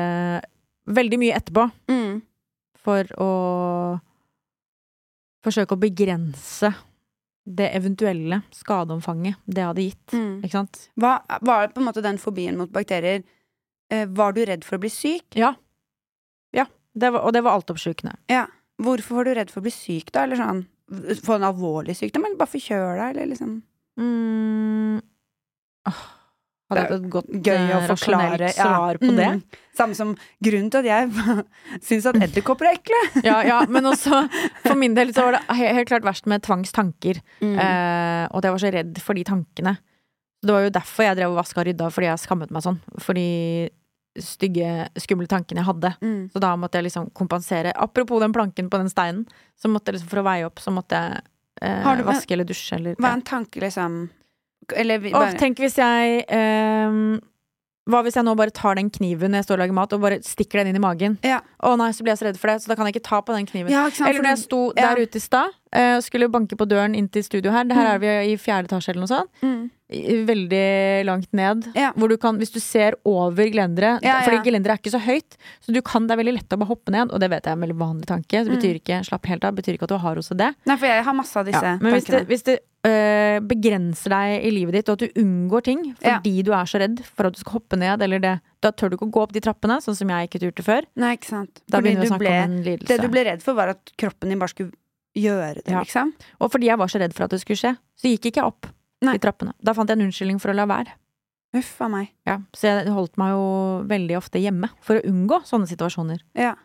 Speaker 1: veldig mye etterpå
Speaker 2: mm.
Speaker 1: for å forsøke å begrense det eventuelle skadeomfanget det hadde gitt.
Speaker 2: Mm.
Speaker 1: Ikke sant?
Speaker 2: Hva, var på en måte den fobien mot bakterier eh, Var du redd for å bli syk?
Speaker 1: Det var, og det var altoppslukende.
Speaker 2: Hvorfor var du redd for å bli syk, da? Eller sånn Få en alvorlig sykdom, eller bare forkjøla, eller liksom
Speaker 1: Mm. Åh, hadde jeg hatt et godt,
Speaker 2: Gøy å
Speaker 1: eh,
Speaker 2: forklare.
Speaker 1: rasjonelt svar på det.
Speaker 2: Mm. Samme som grunnen til at jeg syns at edderkopper er ekle.
Speaker 1: Ja, ja, men også for min del så var det he- helt klart verst med tvangstanker.
Speaker 2: Mm.
Speaker 1: Eh, og at jeg var så redd for de tankene. Det var jo derfor jeg drev og vaska og rydda, fordi jeg skammet meg sånn. For de stygge, skumle tankene jeg hadde.
Speaker 2: Mm.
Speaker 1: Så da måtte jeg liksom kompensere. Apropos den planken på den steinen, så måtte jeg liksom for å veie opp, så måtte jeg eh,
Speaker 2: Har du-
Speaker 1: vaske eller dusje eller
Speaker 2: Hva er en tanke, liksom Eller vi-
Speaker 1: Åh,
Speaker 2: bare-
Speaker 1: tenk hvis jeg ehm, Hva hvis jeg nå bare tar den kniven når jeg står og lager mat, og bare stikker den inn i magen?
Speaker 2: Ja.
Speaker 1: Å nei, så blir jeg så redd for det, så da kan jeg ikke ta på den kniven.
Speaker 2: Ja, ikke sant?
Speaker 1: Eller når jeg
Speaker 2: Fordi-
Speaker 1: sto
Speaker 2: ja.
Speaker 1: der ute i stad eh, og skulle banke på døren inn til studio her. Det her
Speaker 2: Mm.
Speaker 1: er vi i fjerde etasje eller noe sånt.
Speaker 2: Mm.
Speaker 1: I- Veldig langt ned.
Speaker 2: Ja.
Speaker 1: Hvor du kan, hvis du ser over gelenderet
Speaker 2: Ja, ja.
Speaker 1: Fordi gelenderet er ikke så høyt, så du kan, det er veldig lett å bare hoppe ned. Og det vet jeg er en veldig vanlig tanke. Det
Speaker 2: Mm.
Speaker 1: betyr ikke, slapp helt av, betyr ikke at du har OCD.
Speaker 2: Nei, for jeg har masse av disse
Speaker 1: Ja, men hvis det,
Speaker 2: tankene.
Speaker 1: hvis det øh, begrenser deg i livet ditt, og at du unngår ting
Speaker 2: Ja.
Speaker 1: fordi du er så redd for at du skal hoppe ned, eller det, da tør du ikke å gå opp de trappene, sånn som jeg ikke turte før.
Speaker 2: Nei, ikke sant.
Speaker 1: Da
Speaker 2: Fordi du
Speaker 1: begynner vi å snakke
Speaker 2: ble,
Speaker 1: om en
Speaker 2: det du
Speaker 1: lidelse.
Speaker 2: ble redd for, var at kroppen din bare skulle gjøre det,
Speaker 1: Ja.
Speaker 2: liksom.
Speaker 1: Og fordi jeg var så redd for at det skulle skje, så gikk ikke jeg opp
Speaker 2: Nei.
Speaker 1: de trappene. Da fant jeg en unnskyldning for å la være.
Speaker 2: Huff a meg.
Speaker 1: Ja, så jeg holdt meg jo veldig ofte hjemme for å unngå sånne situasjoner.
Speaker 2: Ja.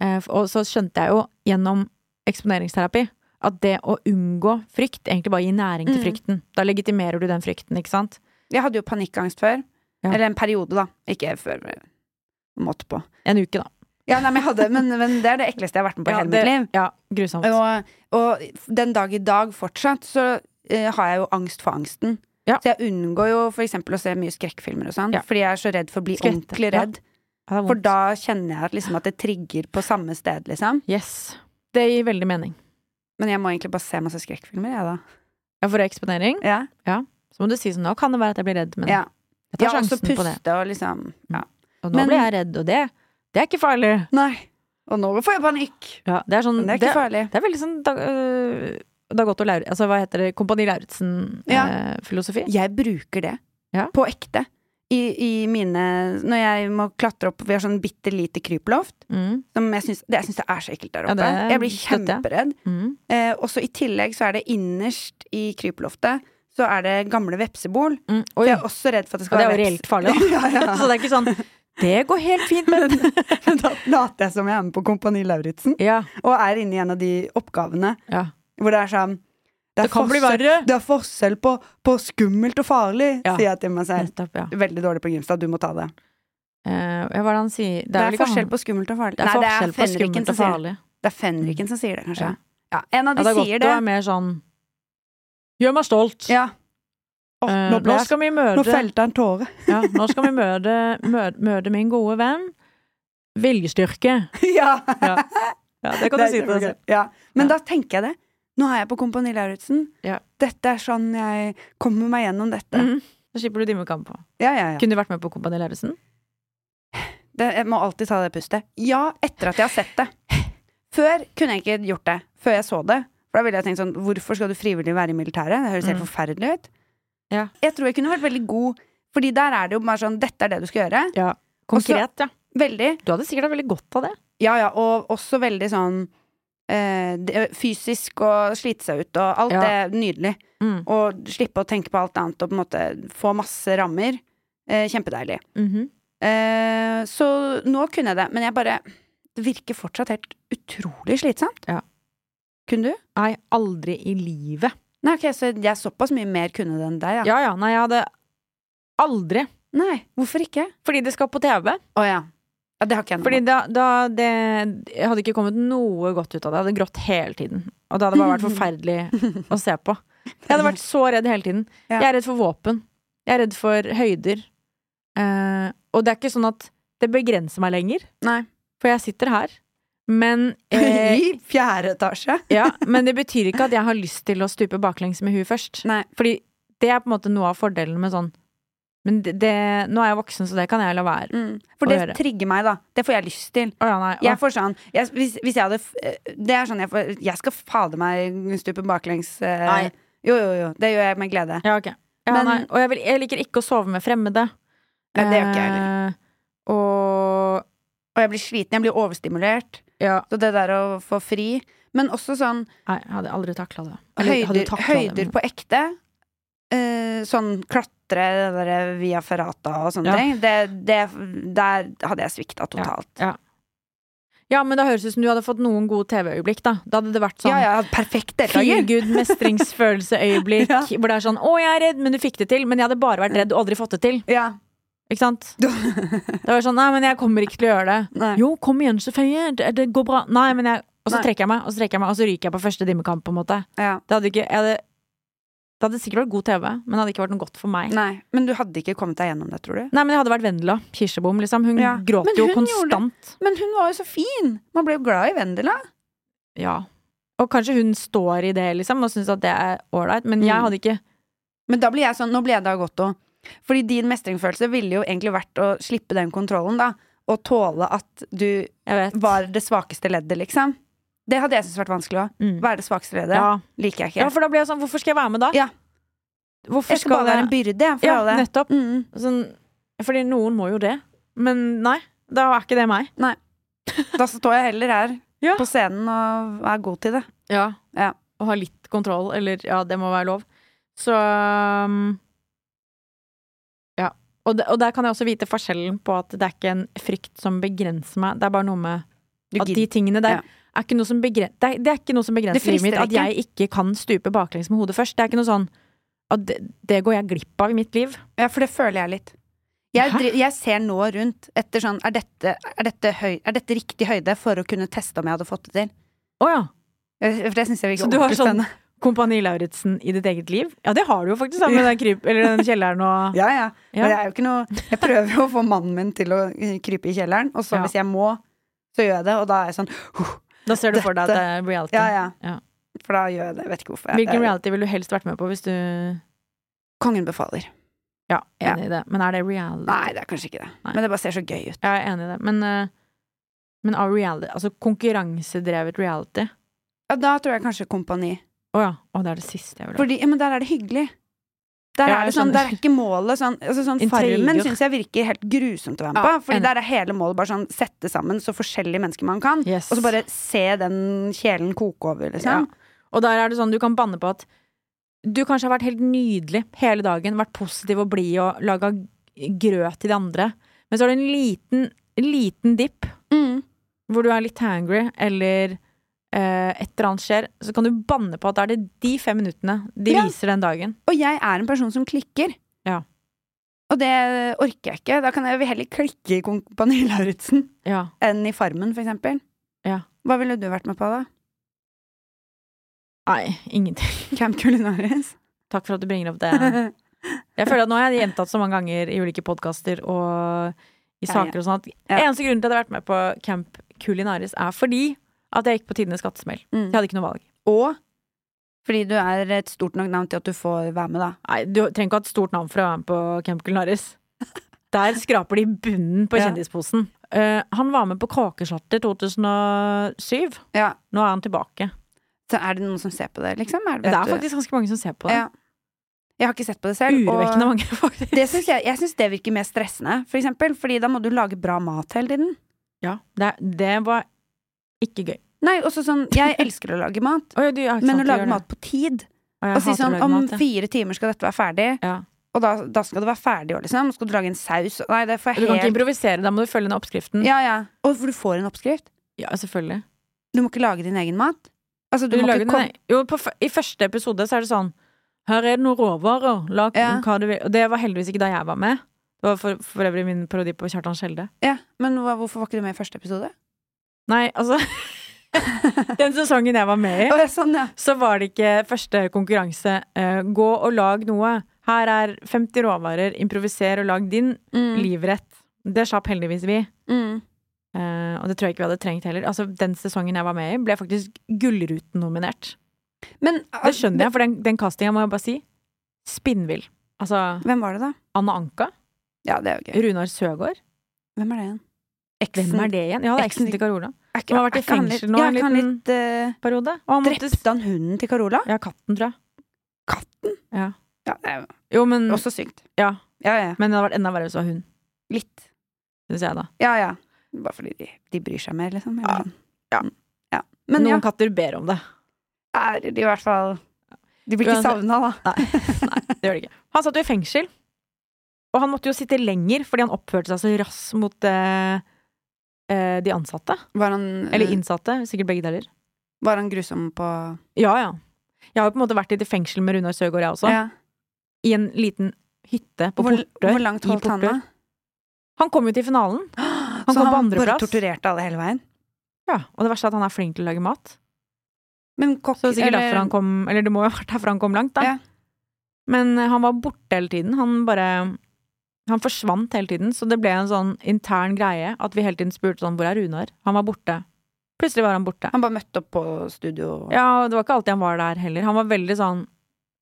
Speaker 1: Eh, f- og så skjønte jeg jo gjennom eksponeringsterapi at det å unngå frykt egentlig bare gir næring til
Speaker 2: Mm.
Speaker 1: frykten. Da legitimerer du den frykten, ikke sant?
Speaker 2: Jeg hadde jo panikkangst før.
Speaker 1: Ja.
Speaker 2: Eller en periode, da. Ikke før eh, Måtte på.
Speaker 1: En uke, da.
Speaker 2: Ja, nei, men, jeg hadde, men, men det er det ekleste jeg har vært med på i
Speaker 1: Ja,
Speaker 2: hele
Speaker 1: det-
Speaker 2: mitt liv.
Speaker 1: Ja, grusomt.
Speaker 2: Og, og den dag i dag fortsatt så eh, har jeg jo angst for angsten.
Speaker 1: Ja.
Speaker 2: Så jeg unngår jo for eksempel å se mye skrekkfilmer og sånn,
Speaker 1: Ja.
Speaker 2: fordi jeg er så redd for å bli
Speaker 1: Skvette.
Speaker 2: ordentlig
Speaker 1: Ja,
Speaker 2: redd.
Speaker 1: Ja, det er
Speaker 2: For
Speaker 1: vondt.
Speaker 2: da kjenner jeg at, liksom, at det trigger på samme sted, liksom.
Speaker 1: Yes. Det gir veldig mening.
Speaker 2: Men jeg må egentlig bare se masse skrekkfilmer, jeg, da.
Speaker 1: Ja, for eksponering,
Speaker 2: Ja.
Speaker 1: så må du si sånn Nå kan det være at jeg blir redd, men
Speaker 2: Ja. Jeg
Speaker 1: jeg tar
Speaker 2: har også
Speaker 1: sjansen på det. Mm.
Speaker 2: puste og liksom ja.
Speaker 1: Og nå
Speaker 2: Men-
Speaker 1: blir jeg redd, og det, det er ikke farlig.
Speaker 2: Nei. Og nå får jeg panikk!
Speaker 1: Ja, det er sånn
Speaker 2: Men det er ikke farlig.
Speaker 1: det er veldig sånn da, øh, Dagotto Lauritzen Altså, hva heter det? Kompani Lauritzen-filosofi.
Speaker 2: Jeg bruker det.
Speaker 1: Ja.
Speaker 2: På ekte. I, I mine Når jeg må klatre opp Vi har sånn bitte lite kryploft.
Speaker 1: Mm,
Speaker 2: Som jeg syns, det, jeg syns det er så ekkelt der
Speaker 1: Ja,
Speaker 2: oppe.
Speaker 1: det
Speaker 2: jeg blir
Speaker 1: støtter jeg.
Speaker 2: kjemperedd.
Speaker 1: mm.
Speaker 2: Eh, og så i tillegg så er det innerst i krypeloftet så er det gamle vepsebol.
Speaker 1: Mm.
Speaker 2: Og
Speaker 1: Oi.
Speaker 2: jeg er også redd for at det
Speaker 1: Og
Speaker 2: skal
Speaker 1: det er jo
Speaker 2: være
Speaker 1: reelt farlig, da.
Speaker 2: ja, ja.
Speaker 1: Så det er ikke sånn Det går helt fint, men
Speaker 2: da later jeg som jeg er med på Kompani Lauritzen,
Speaker 1: Ja.
Speaker 2: og er inne i en av de oppgavene
Speaker 1: ja.
Speaker 2: hvor det er sånn
Speaker 1: Det kan bli verre.
Speaker 2: det er forskjell på, på skummelt og farlig,
Speaker 1: Ja.
Speaker 2: sier jeg til meg selv.
Speaker 1: Nettopp, ja.
Speaker 2: Veldig dårlig på Grimstad, du må ta det.
Speaker 1: Eh, ja, hva er det han sier?
Speaker 2: Det er,
Speaker 1: vel ikke
Speaker 2: forskjell
Speaker 1: han-
Speaker 2: på skummelt og farlig.
Speaker 1: Det er
Speaker 2: Nei,
Speaker 1: forskjell på
Speaker 2: fenriken
Speaker 1: skummelt
Speaker 2: som sier
Speaker 1: og
Speaker 2: det.
Speaker 1: farlig.
Speaker 2: Det er fenriken som sier det, kanskje.
Speaker 1: Ja.
Speaker 2: Ja, en av
Speaker 1: Ja,
Speaker 2: de
Speaker 1: det er godt
Speaker 2: sier
Speaker 1: å
Speaker 2: det.
Speaker 1: være mer sånn Gjør meg stolt.
Speaker 2: Ja. Åh,
Speaker 1: Eh,
Speaker 2: nå,
Speaker 1: nå
Speaker 2: blås,
Speaker 1: skal vi
Speaker 2: nå
Speaker 1: møte
Speaker 2: felte han tåre.
Speaker 1: Ja, nå skal vi møte, møte, møte min gode venn. Viljestyrke.
Speaker 2: ja.
Speaker 1: Ja. Ja, det kan du si til deg selv.
Speaker 2: Ja. Men
Speaker 1: Ja.
Speaker 2: da tenker jeg det. Nå er jeg på Kompani Lauritzen.
Speaker 1: Ja.
Speaker 2: Dette er sånn jeg kommer meg gjennom dette.
Speaker 1: Mhm. Da slipper du Dimmekamp på.
Speaker 2: Ja, ja, ja.
Speaker 1: Kunne du vært med på Kompani Lauritzen?
Speaker 2: Det, jeg må alltid ta det pustet. Ja, etter at jeg har sett det. Før kunne jeg ikke gjort det. Før jeg så det. For da ville jeg tenkt sånn, hvorfor skal du frivillig være i militæret? Det høres helt
Speaker 1: Mm.
Speaker 2: forferdelig ut.
Speaker 1: Ja.
Speaker 2: Jeg tror jeg kunne vært veldig god, fordi der er det jo bare sånn, dette er det du skal gjøre.
Speaker 1: Ja. Konkret, ja.
Speaker 2: Veldig.
Speaker 1: Du hadde sikkert hatt veldig godt av det.
Speaker 2: Ja, ja, og også veldig sånn eh, det- fysisk og slite seg ut og alt
Speaker 1: Ja.
Speaker 2: det er nydelig.
Speaker 1: Mm.
Speaker 2: Og slippe å tenke på alt annet og på en måte få masse rammer. Eh, kjempedeilig.
Speaker 1: Mhm.
Speaker 2: Eh, så nå kunne jeg det, men jeg bare Det virker fortsatt helt utrolig slitsomt.
Speaker 1: Ja.
Speaker 2: Kunne du?
Speaker 1: Nei, aldri i livet.
Speaker 2: Nei, ok, så jeg såpass mye mer kunne det enn deg, ja.
Speaker 1: Ja ja, nei, jeg hadde aldri.
Speaker 2: Nei, hvorfor ikke?
Speaker 1: Fordi det skal på TV.
Speaker 2: Å ja. ja. Det har ikke jeg noe
Speaker 1: Fordi
Speaker 2: med.
Speaker 1: da, da det Jeg hadde ikke kommet noe godt ut av det. Jeg hadde grått hele tiden. Og det hadde bare vært forferdelig å se på. Jeg hadde vært så redd hele tiden.
Speaker 2: Ja.
Speaker 1: Jeg er redd for våpen. Jeg er redd for høyder. Eh, og det er ikke sånn at det begrenser meg lenger,
Speaker 2: Nei.
Speaker 1: for jeg sitter her. Men, eh,
Speaker 2: I fjerde etasje?
Speaker 1: ja, men det betyr ikke at jeg har lyst til å stupe baklengs med huet først.
Speaker 2: Nei.
Speaker 1: Fordi det er på en måte noe av fordelen med sånn Men det, det, nå er jeg voksen, så det kan jeg la være.
Speaker 2: Mm. For
Speaker 1: Å
Speaker 2: det
Speaker 1: gjøre.
Speaker 2: trigger meg, da. Det får jeg lyst til.
Speaker 1: Å ja, nei. Å,
Speaker 2: Jeg får sånn jeg, hvis, hvis jeg hadde f- eh, Det er sånn jeg får Jeg skal fader meg stupe baklengs. eh,
Speaker 1: Nei.
Speaker 2: Jo, jo, jo. Det gjør jeg med glede.
Speaker 1: Ja, ok. Ja,
Speaker 2: Men-
Speaker 1: nei. Og jeg, vil, jeg liker ikke å sove med fremmede.
Speaker 2: Nei, det gjør ikke jeg heller.
Speaker 1: Eh, og
Speaker 2: Og jeg blir sliten. Jeg blir overstimulert.
Speaker 1: ja,
Speaker 2: Så det der å få fri Men også sånn
Speaker 1: nei, jeg hadde aldri takla det. Eller, hadde
Speaker 2: høyder,
Speaker 1: taklet det,
Speaker 2: høyder
Speaker 1: men-
Speaker 2: på ekte. eh, sånn klatre det der eh, via ferrata og sånne
Speaker 1: Ja.
Speaker 2: ting. Det, det, der hadde jeg svikta totalt. Ja.
Speaker 1: Ja. ja, men det høres ut som du hadde fått noen gode TV-øyeblikk, da. Da hadde det vært sånn
Speaker 2: Ja, jeg hadde perfekt
Speaker 1: Feel
Speaker 2: deltaker.
Speaker 1: good mestringsfølelse-øyeblikk,
Speaker 2: Ja. Mm.
Speaker 1: hvor det er sånn 'Å, jeg er redd, men du fikk det til.' Men jeg hadde bare vært redd og aldri fått det til.
Speaker 2: Ja.
Speaker 1: Ikke sant? Det var sånn 'Nei, men jeg kommer ikke til å gjøre det'.
Speaker 2: Nei.
Speaker 1: Jo, kom igjen, Sofie. Det, det går bra. Nei, men jeg Og så
Speaker 2: Nei.
Speaker 1: trekker jeg meg, og så trekker jeg meg, og så ryker jeg på første dimmekamp, på en måte.
Speaker 2: Ja.
Speaker 1: Det hadde ikke jeg hadde, Det hadde sikkert vært god TV, men det hadde ikke vært noe godt for meg. Nei,
Speaker 2: Nei. Men du hadde ikke kommet deg gjennom det, tror du?
Speaker 1: men jeg hadde vært Vendela Kirsebom, liksom. Hun
Speaker 2: Ja.
Speaker 1: gråt
Speaker 2: Men
Speaker 1: jo
Speaker 2: hun gjorde det.
Speaker 1: konstant.
Speaker 2: Men hun var jo så fin! Man ble jo glad i Vendela.
Speaker 1: Ja. Og kanskje hun står i det, liksom, og syns at det er ålreit, men jeg
Speaker 2: Mm.
Speaker 1: hadde ikke
Speaker 2: Men da blir jeg sånn, nå blir jeg da godt òg. Fordi din mestringsfølelse ville jo egentlig vært å slippe den kontrollen, da. Og tåle at du
Speaker 1: Jeg vet.
Speaker 2: var det svakeste leddet, liksom. Det hadde jeg syntes vært vanskelig òg.
Speaker 1: Mm.
Speaker 2: Være det svakeste leddet
Speaker 1: Ja.
Speaker 2: liker jeg ikke.
Speaker 1: ja, for da blir jeg sånn Hvorfor skal jeg være med da?
Speaker 2: Ja.
Speaker 1: Hvorfor
Speaker 2: jeg skal bare være en byrde, jeg, for
Speaker 1: Ja,
Speaker 2: alle.
Speaker 1: nettopp.
Speaker 2: Mm.
Speaker 1: Sånn, fordi noen må jo det. Men nei, da er ikke det meg.
Speaker 2: mm. Da står jeg heller her
Speaker 1: Ja.
Speaker 2: på scenen og er god til det.
Speaker 1: Ja.
Speaker 2: Ja.
Speaker 1: Å ha litt kontroll, eller ja, det må være lov. Så um, Ja. Og, de, og der kan jeg også vite forskjellen på at det er ikke en frykt som begrenser meg. Det er bare noe med
Speaker 2: Du
Speaker 1: at de
Speaker 2: gidder-
Speaker 1: tingene der
Speaker 2: Ja.
Speaker 1: er ikke noe som begren, det, er, det er ikke noe som begrenser livet
Speaker 2: frister
Speaker 1: mitt. At
Speaker 2: ikke.
Speaker 1: jeg ikke kan stupe baklengs med hodet først. Det er ikke noe sånn at det, det går jeg glipp av i mitt liv.
Speaker 2: Ja, for det føler jeg litt. Jeg,
Speaker 1: Hæ?
Speaker 2: dri- jeg ser nå rundt etter sånn er dette, er, dette høy, er dette riktig høyde for å kunne teste om jeg hadde fått det til?
Speaker 1: Å ja.
Speaker 2: For det syns jeg virker
Speaker 1: Så du har
Speaker 2: ordentlig
Speaker 1: sånn-
Speaker 2: spennende.
Speaker 1: Kompani Lauritzen i ditt eget liv? Ja, det har du jo faktisk, da, med den, kryp, eller den kjelleren og
Speaker 2: Ja, ja.
Speaker 1: Ja.
Speaker 2: Men jeg er jo ikke noe Jeg prøver jo å få mannen min til å eh, krype i kjelleren, og så
Speaker 1: Ja.
Speaker 2: hvis jeg må, så gjør jeg det, og da er jeg sånn «Huh,
Speaker 1: Da ser du for deg at det
Speaker 2: Dette-
Speaker 1: er reality.
Speaker 2: Ja, ja.
Speaker 1: Ja.
Speaker 2: For da gjør jeg det. Jeg vet ikke hvorfor. Jeg,
Speaker 1: Hvilken
Speaker 2: jeg,
Speaker 1: reality ville du helst vært med på hvis du
Speaker 2: kongen befaler.
Speaker 1: Ja, enig i det. Men er det reality?
Speaker 2: Nei, det er kanskje ikke det.
Speaker 1: Nei.
Speaker 2: Men det bare ser så gøy ut.
Speaker 1: Jeg er enig i det. Men, eh, men av reality Altså konkurransedrevet reality.
Speaker 2: Ja, da tror jeg kanskje Kompani.
Speaker 1: Å ja. Å, det er det siste jeg vil ha.
Speaker 2: Fordi, ja, men der er det hyggelig. Der
Speaker 1: Ja,
Speaker 2: er det
Speaker 1: jeg
Speaker 2: sånn,
Speaker 1: skjønner.
Speaker 2: der er ikke målet sånn, altså sånn
Speaker 1: Intriger.
Speaker 2: Farmen syns jeg virker helt grusomt å være med på.
Speaker 1: Ja,
Speaker 2: fordi
Speaker 1: enig.
Speaker 2: der er hele målet bare sånn sette sammen så forskjellige mennesker man kan.
Speaker 1: Yes.
Speaker 2: Og så bare se den kjelen koke over, liksom.
Speaker 1: Ja. Og der er det sånn, du kan banne på at du kanskje har vært helt nydelig hele dagen, vært positiv og blid og laga grøt til de andre, men så har du en liten, liten dipp
Speaker 2: Mm.
Speaker 1: hvor du er litt hangry eller eh, et eller annet skjer, så kan du banne på at da er det de fem minuttene de
Speaker 2: Ja.
Speaker 1: viser den dagen.
Speaker 2: Og jeg er en person som klikker.
Speaker 1: Ja.
Speaker 2: Og det orker jeg ikke. Da kan jeg vil heller klikke i Kompani Lauritzen
Speaker 1: Ja.
Speaker 2: enn i Farmen, for eksempel.
Speaker 1: Ja.
Speaker 2: Hva ville du vært med på, da?
Speaker 1: Nei, ingenting.
Speaker 2: Camp Culinaris?
Speaker 1: Takk for at du bringer opp det. Jeg føler at nå har jeg gjentatt så mange ganger i ulike podkaster og i
Speaker 2: Ja,
Speaker 1: saker og sånn at
Speaker 2: Ja.
Speaker 1: eneste grunnen til at jeg har vært med på Camp Culinaris, er fordi at jeg gikk på tidenes skattesmell.
Speaker 2: Mm.
Speaker 1: Jeg hadde ikke noe valg.
Speaker 2: Og fordi du er et stort nok navn til at du får være med, da.
Speaker 1: Nei, du trenger ikke ha et stort navn for å være med på Camp Culinaris. Der skraper de bunnen på
Speaker 2: Ja. Mm.
Speaker 1: kjendisposen. Eh, han var med på Kakeslatter 2007.
Speaker 2: Ja.
Speaker 1: Nå er han tilbake.
Speaker 2: Så er det noen som ser på det, liksom? Er det,
Speaker 1: Det
Speaker 2: vet
Speaker 1: er
Speaker 2: du-
Speaker 1: faktisk ganske mange som ser på det.
Speaker 2: Ja. Jeg har ikke sett på det selv. og-
Speaker 1: Urovekkende mange, faktisk.
Speaker 2: Det synes jeg, jeg syns det virker mer stressende, for eksempel. Fordi da må du lage bra mat hele tiden.
Speaker 1: Ja, det, det var ikke gøy.
Speaker 2: Nei, også sånn Jeg elsker å lage mat,
Speaker 1: Oi, du, jeg har ikke
Speaker 2: men
Speaker 1: sant
Speaker 2: å
Speaker 1: til
Speaker 2: lage
Speaker 1: gjøre
Speaker 2: mat på tid
Speaker 1: det. Og jeg
Speaker 2: Og si
Speaker 1: hater å
Speaker 2: sånn
Speaker 1: lage
Speaker 2: om
Speaker 1: mat, ja.
Speaker 2: fire timer skal dette være ferdig,
Speaker 1: Ja.
Speaker 2: og da, da skal det være ferdig òg, liksom. Skal du lage en saus Nei, det får
Speaker 1: Du
Speaker 2: jeg
Speaker 1: kan ikke
Speaker 2: helt
Speaker 1: improvisere, da må du følge den oppskriften.
Speaker 2: Ja, ja. Og for du får en oppskrift.
Speaker 1: Ja, selvfølgelig.
Speaker 2: Du må ikke lage din egen mat. Altså, du,
Speaker 1: Du
Speaker 2: må
Speaker 1: lager
Speaker 2: ikke
Speaker 1: den,
Speaker 2: komme
Speaker 1: nei. jo, på, f- I første episode så er det sånn Her er det noen råvarer. Lag
Speaker 2: Ja.
Speaker 1: hva du vil. Og det var heldigvis ikke da jeg var med. Det var for, for øvrig min parodi på Kjartan Skjelde.
Speaker 2: Ja, men hva- hvorfor var ikke du med i første episode?
Speaker 1: Nei, altså Den sesongen jeg var med i,
Speaker 2: Å, ja, sånn, ja.
Speaker 1: så var det ikke første konkurranse eh, gå og lag noe. Her er 50 råvarer, improviser og lag din
Speaker 2: Mm,
Speaker 1: livrett. Det slapp heldigvis vi.
Speaker 2: mm.
Speaker 1: Eh, og det tror jeg ikke vi hadde trengt heller. Altså, Den sesongen jeg var med i, ble faktisk Gullruten-nominert.
Speaker 2: Men ah,
Speaker 1: Det skjønner jeg, for den, den castinga må jeg bare si spinnvill. Altså
Speaker 2: Hvem var det, da?
Speaker 1: Anne Anka,
Speaker 2: Ja, det er jo gøy.
Speaker 1: Runar Søgaard.
Speaker 2: Hvem er det igjen?
Speaker 1: Hvem er det igjen? Ja, det er eksen
Speaker 2: Eksen-
Speaker 1: til Carola.
Speaker 2: Er ikke,
Speaker 1: Som har vært i
Speaker 2: er ikke han
Speaker 1: fengsel
Speaker 2: litt-
Speaker 1: nå,
Speaker 2: Ja,
Speaker 1: en
Speaker 2: er ikke han
Speaker 1: liten-
Speaker 2: litt eh,
Speaker 1: Periode. Og han måtte
Speaker 2: Drepte han hunden til Carola?
Speaker 1: Ja, katten, tror jeg.
Speaker 2: Katten?
Speaker 1: Ja.
Speaker 2: Ja, det er
Speaker 1: Jo, men,
Speaker 2: jo også sykt.
Speaker 1: Mm. ja.
Speaker 2: Ja, ja.
Speaker 1: men det hadde vært enda verre hvis det var hun.
Speaker 2: Litt.
Speaker 1: Synes jeg, da.
Speaker 2: Ja, ja. Bare fordi de, de bryr seg mer, liksom.
Speaker 1: Ja.
Speaker 2: Eller sånn. ja. Men
Speaker 1: Noen
Speaker 2: ja,
Speaker 1: katter ber om det.
Speaker 2: er de i hvert fall De blir ikke
Speaker 1: Uansett-
Speaker 2: savna, da.
Speaker 1: Nei, nei, det gjør det ikke. Han satt jo i fengsel. Og han måtte jo sitte lenger fordi han oppførte seg så rass mot eh, eh, de ansatte.
Speaker 2: Var han,
Speaker 1: Eller innsatte. Sikkert begge deler.
Speaker 2: var han grusom på
Speaker 1: Ja, ja. Jeg har jo på en måte vært litt i fengsel med Runar Søgaard, jeg også.
Speaker 2: ja.
Speaker 1: I en liten hytte sånn? på
Speaker 2: hvor,
Speaker 1: Portør.
Speaker 2: hvor langt
Speaker 1: i
Speaker 2: holdt han da?
Speaker 1: Portør. Han kom jo til finalen,
Speaker 2: Så
Speaker 1: kom på
Speaker 2: han bare
Speaker 1: andreplass.
Speaker 2: torturerte alle hele veien?
Speaker 1: ja. og det verste er at han er flink til å lage mat.
Speaker 2: Men kokk
Speaker 1: Så det er sikkert
Speaker 2: eller-
Speaker 1: derfor han kom Eller det må jo ha vært derfor han kom langt, da.
Speaker 2: Ja.
Speaker 1: Men eh, han var borte hele tiden. Han bare Han forsvant hele tiden, så det ble en sånn intern greie at vi hele tiden spurte sånn Hvor er Runar? Han var borte. Plutselig var han borte.
Speaker 2: Han bare møtte opp på studio?
Speaker 1: Ja, og det var ikke alltid han var der heller. Han var veldig sånn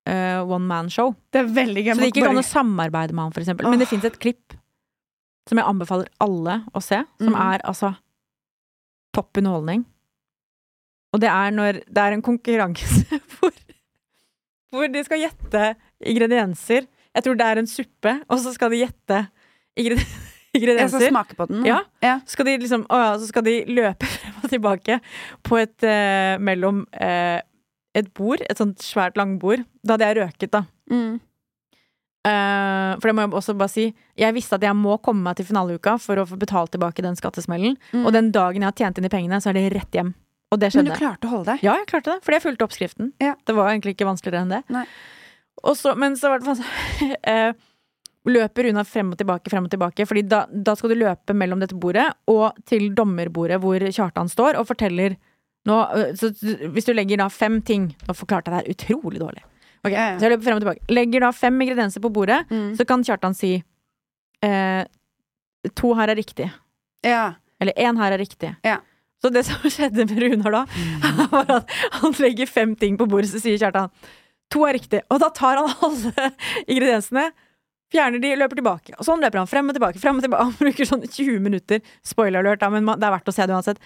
Speaker 1: eh, one man show.
Speaker 2: Det er veldig gøy.
Speaker 1: Så det gikk ikke
Speaker 2: Bare-
Speaker 1: an å samarbeide med han, for eksempel. Men det
Speaker 2: Åh.
Speaker 1: fins et klipp som jeg anbefaler alle å se, som
Speaker 2: Mhm.
Speaker 1: er altså topp underholdning. Og det er når det er en konkurranse hvor, hvor de skal gjette ingredienser. Jeg tror det er en suppe, og så skal de gjette ingredi-
Speaker 2: Jeg skal
Speaker 1: ingredienser.
Speaker 2: smake på den.
Speaker 1: Ja.
Speaker 2: Ja.
Speaker 1: Så skal de liksom, å ja, så skal de løpe frem og tilbake på et eh, mellom eh, et bord, et sånt svært langbord. Da hadde jeg røket, da.
Speaker 2: Mm.
Speaker 1: Eh, for det må jeg også bare si. Jeg visste at jeg må komme meg til finaleuka for å få betalt tilbake den skattesmellen.
Speaker 2: Mm.
Speaker 1: Og den dagen jeg har tjent inn de pengene, så er det rett hjem. Og det
Speaker 2: Men du
Speaker 1: skjedde.
Speaker 2: klarte å holde deg?
Speaker 1: Ja, jeg klarte det, fordi jeg fulgte oppskriften.
Speaker 2: Ja.
Speaker 1: Det var egentlig ikke vanskeligere enn det.
Speaker 2: Nei.
Speaker 1: Og så, men så var det sånn eh, Løper unna frem og tilbake, frem og tilbake. Fordi da, da skal du løpe mellom dette bordet og til dommerbordet hvor Kjartan står og forteller nå, eh, så, Hvis du legger da fem ting Nå forklarte jeg det her utrolig dårlig. Ok,
Speaker 2: Ja, ja.
Speaker 1: Så jeg løper frem og tilbake. Legger da fem ingredienser på bordet,
Speaker 2: Mm.
Speaker 1: så kan Kjartan si eh, To her er riktig.
Speaker 2: Ja.
Speaker 1: Eller én her er riktig.
Speaker 2: Ja. Mm.
Speaker 1: Så det som skjedde med Runar da, var at han legger fem ting på bordet, så sier Kjartan to er riktig. Og da tar han alle ingrediensene, fjerner de, løper tilbake. Og sånn løper han frem og tilbake, frem og tilbake. Han bruker sånn 20 minutter. Spoiler alert, da, men man- det er verdt å se det uansett.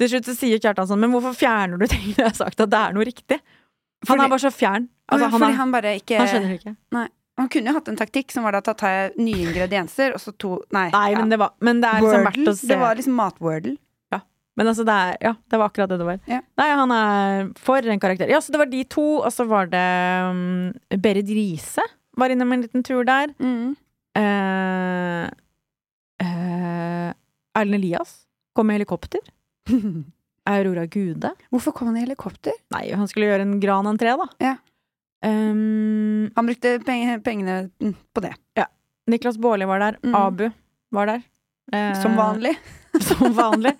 Speaker 1: Til slutt så sier Kjartan sånn, men hvorfor fjerner du tingene jeg har sagt at det er noe riktig? Han
Speaker 2: Fordi-
Speaker 1: er bare så fjern.
Speaker 2: Å ja,
Speaker 1: Altså, han,
Speaker 2: fordi
Speaker 1: er,
Speaker 2: han bare ikke
Speaker 1: han skjønner det ikke.
Speaker 2: Han kunne jo hatt en taktikk som var da at da tar jeg nye ingredienser, og så to Nei.
Speaker 1: Nei,
Speaker 2: ja.
Speaker 1: men det, var, men det er liksom verdt å
Speaker 2: Wordle.
Speaker 1: se.
Speaker 2: Det var liksom matwordle.
Speaker 1: Men altså, det er Ja, det var akkurat det det var.
Speaker 2: Ja.
Speaker 1: Nei, han er for en karakter. Ja, så det var de to, og så var det um, Berit Riise var innom en liten tur der. Eh, eh, Erlend Elias kom med helikopter. Aurora Gude.
Speaker 2: Hvorfor kom han i helikopter?
Speaker 1: Nei, han skulle gjøre en gran entré, da.
Speaker 2: Ja.
Speaker 1: Um,
Speaker 2: Han brukte penge, pengene mm, på det,
Speaker 1: Niklas Baarli var der.
Speaker 2: Mm.
Speaker 1: Abu var der. Eh,
Speaker 2: som vanlig.
Speaker 1: Som vanlig.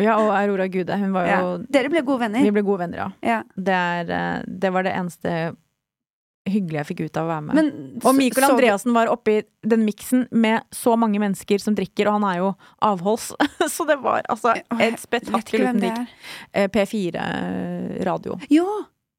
Speaker 1: Ja, og Aurora Gude. Hun var jo
Speaker 2: Ja. Dere ble gode venner.
Speaker 1: Vi ble gode venner, ja.
Speaker 2: Ja.
Speaker 1: Det, er, eh, det var det eneste hyggelig jeg fikk ut av å være med.
Speaker 2: Men,
Speaker 1: og Mikael
Speaker 2: så- så-
Speaker 1: Andreassen var oppi den miksen med så mange mennesker som drikker, og han er jo avholds. Så det var altså
Speaker 2: Eh, Åh, jeg vet
Speaker 1: et
Speaker 2: ikke
Speaker 1: spetakkel
Speaker 2: hvem
Speaker 1: uten
Speaker 2: det
Speaker 1: dikt.
Speaker 2: er.
Speaker 1: Eh, P4 radio.
Speaker 2: Ja!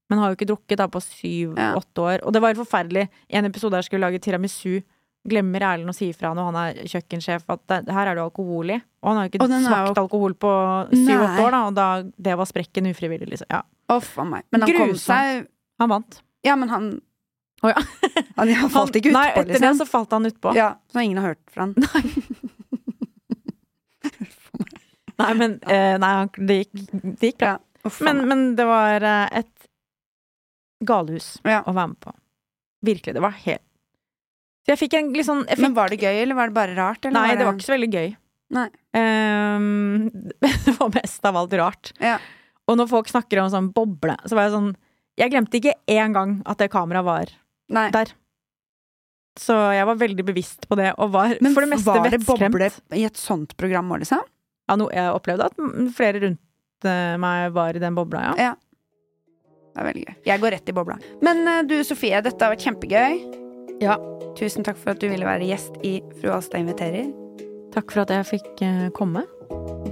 Speaker 1: Men har jo ikke drukket da på
Speaker 2: Ja.
Speaker 1: syv-åtte år. Og det var helt forferdelig. I en episode her skulle lage tiramisu. Glemmer Erlend å si ifra når han er kjøkkensjef at det, her er du alkohol i. Og han har jo ikke
Speaker 2: Og den er
Speaker 1: smakt
Speaker 2: jo-
Speaker 1: alkohol på
Speaker 2: Nei.
Speaker 1: syv-åtte år, da, og da, det var sprekken ufrivillig, liksom. Ja.
Speaker 2: Å, faen meg. Men han kom
Speaker 1: Grusomt.
Speaker 2: seg
Speaker 1: Han vant.
Speaker 2: Ja, men han
Speaker 1: Å, ja.
Speaker 2: Han han falt ikke
Speaker 1: han, nei,
Speaker 2: utpå,
Speaker 1: etter det
Speaker 2: liksom.
Speaker 1: så falt han utpå.
Speaker 2: Ja, så ingen har hørt fra han.
Speaker 1: Nei, men eh, nei, han, det, gikk, det gikk bra.
Speaker 2: Ja. Uff, faen
Speaker 1: Men,
Speaker 2: meg.
Speaker 1: men det var eh, et galehus
Speaker 2: Ja.
Speaker 1: å være med på. Virkelig. Det var helt Så jeg fikk en litt sånn jeg fikk,
Speaker 2: men var det gøy, eller var det bare rart? Eller
Speaker 1: Nei, det var ikke så veldig gøy.
Speaker 2: Nei.
Speaker 1: Ehm, det var mest av alt rart.
Speaker 2: Ja.
Speaker 1: Og når folk snakker om sånn boble, så var jeg sånn Jeg glemte ikke én gang at det kameraet var
Speaker 2: Nei.
Speaker 1: der. Så jeg var veldig bevisst på det, og var
Speaker 2: Men
Speaker 1: for det meste
Speaker 2: var det
Speaker 1: vettskremt.
Speaker 2: boble i et sånt program òg, liksom?
Speaker 1: Ja, no, jeg opplevde at m- flere rundt eh, meg var i den bobla, ja.
Speaker 2: Ja. Det er veldig gøy. Jeg går rett i bobla. Men eh, du Sofie, dette har vært kjempegøy.
Speaker 1: Ja.
Speaker 2: Tusen takk for at du ville være gjest i Fru Alstad inviterer.
Speaker 1: Takk for at jeg fikk eh, komme.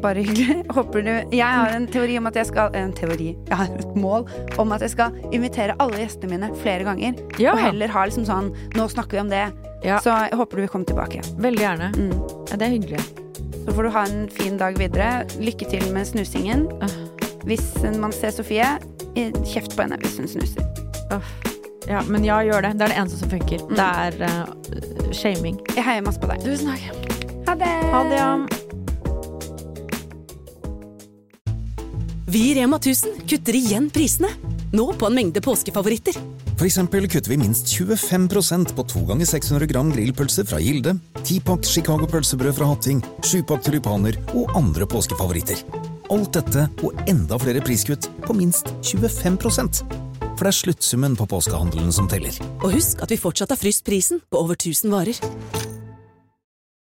Speaker 2: Bare hyggelig. Håper du Jeg har en teori om at jeg skal En teori. Jeg har et mål om at jeg skal invitere alle gjestene mine flere ganger.
Speaker 1: Ja.
Speaker 2: Og heller ha liksom sånn Nå snakker vi om det.
Speaker 1: Ja.
Speaker 2: Så jeg håper du vil komme tilbake.
Speaker 1: Veldig gjerne.
Speaker 2: Mm.
Speaker 1: Ja, det er hyggelig.
Speaker 2: Så får du ha en fin dag videre. Lykke til med snusingen.
Speaker 1: Ah.
Speaker 2: Hvis man ser Sofie, eh, kjeft på henne hvis hun snuser.
Speaker 1: Uff. Ja, men ja, gjør det. Det er det eneste som funker. Det er eh, shaming.
Speaker 2: Jeg heier masse på deg.
Speaker 1: Tusen takk.
Speaker 2: Ha det!
Speaker 1: Ha det, ja.
Speaker 3: Vi i Rema 1000 kutter igjen prisene. Nå på en mengde påskefavoritter.
Speaker 4: For eksempel kutter vi minst 25 på 2 ganger 600 gram grillpølser fra Gilde, 10-pakk Chicago pølsebrød fra Hatting, 7-pakk tulipaner og andre påskefavoritter. Alt dette og enda flere priskutt på minst 25 For det er sluttsummen på påskehandelen som teller.
Speaker 3: Og husk at vi fortsatt har fryst prisen på over 1000 varer.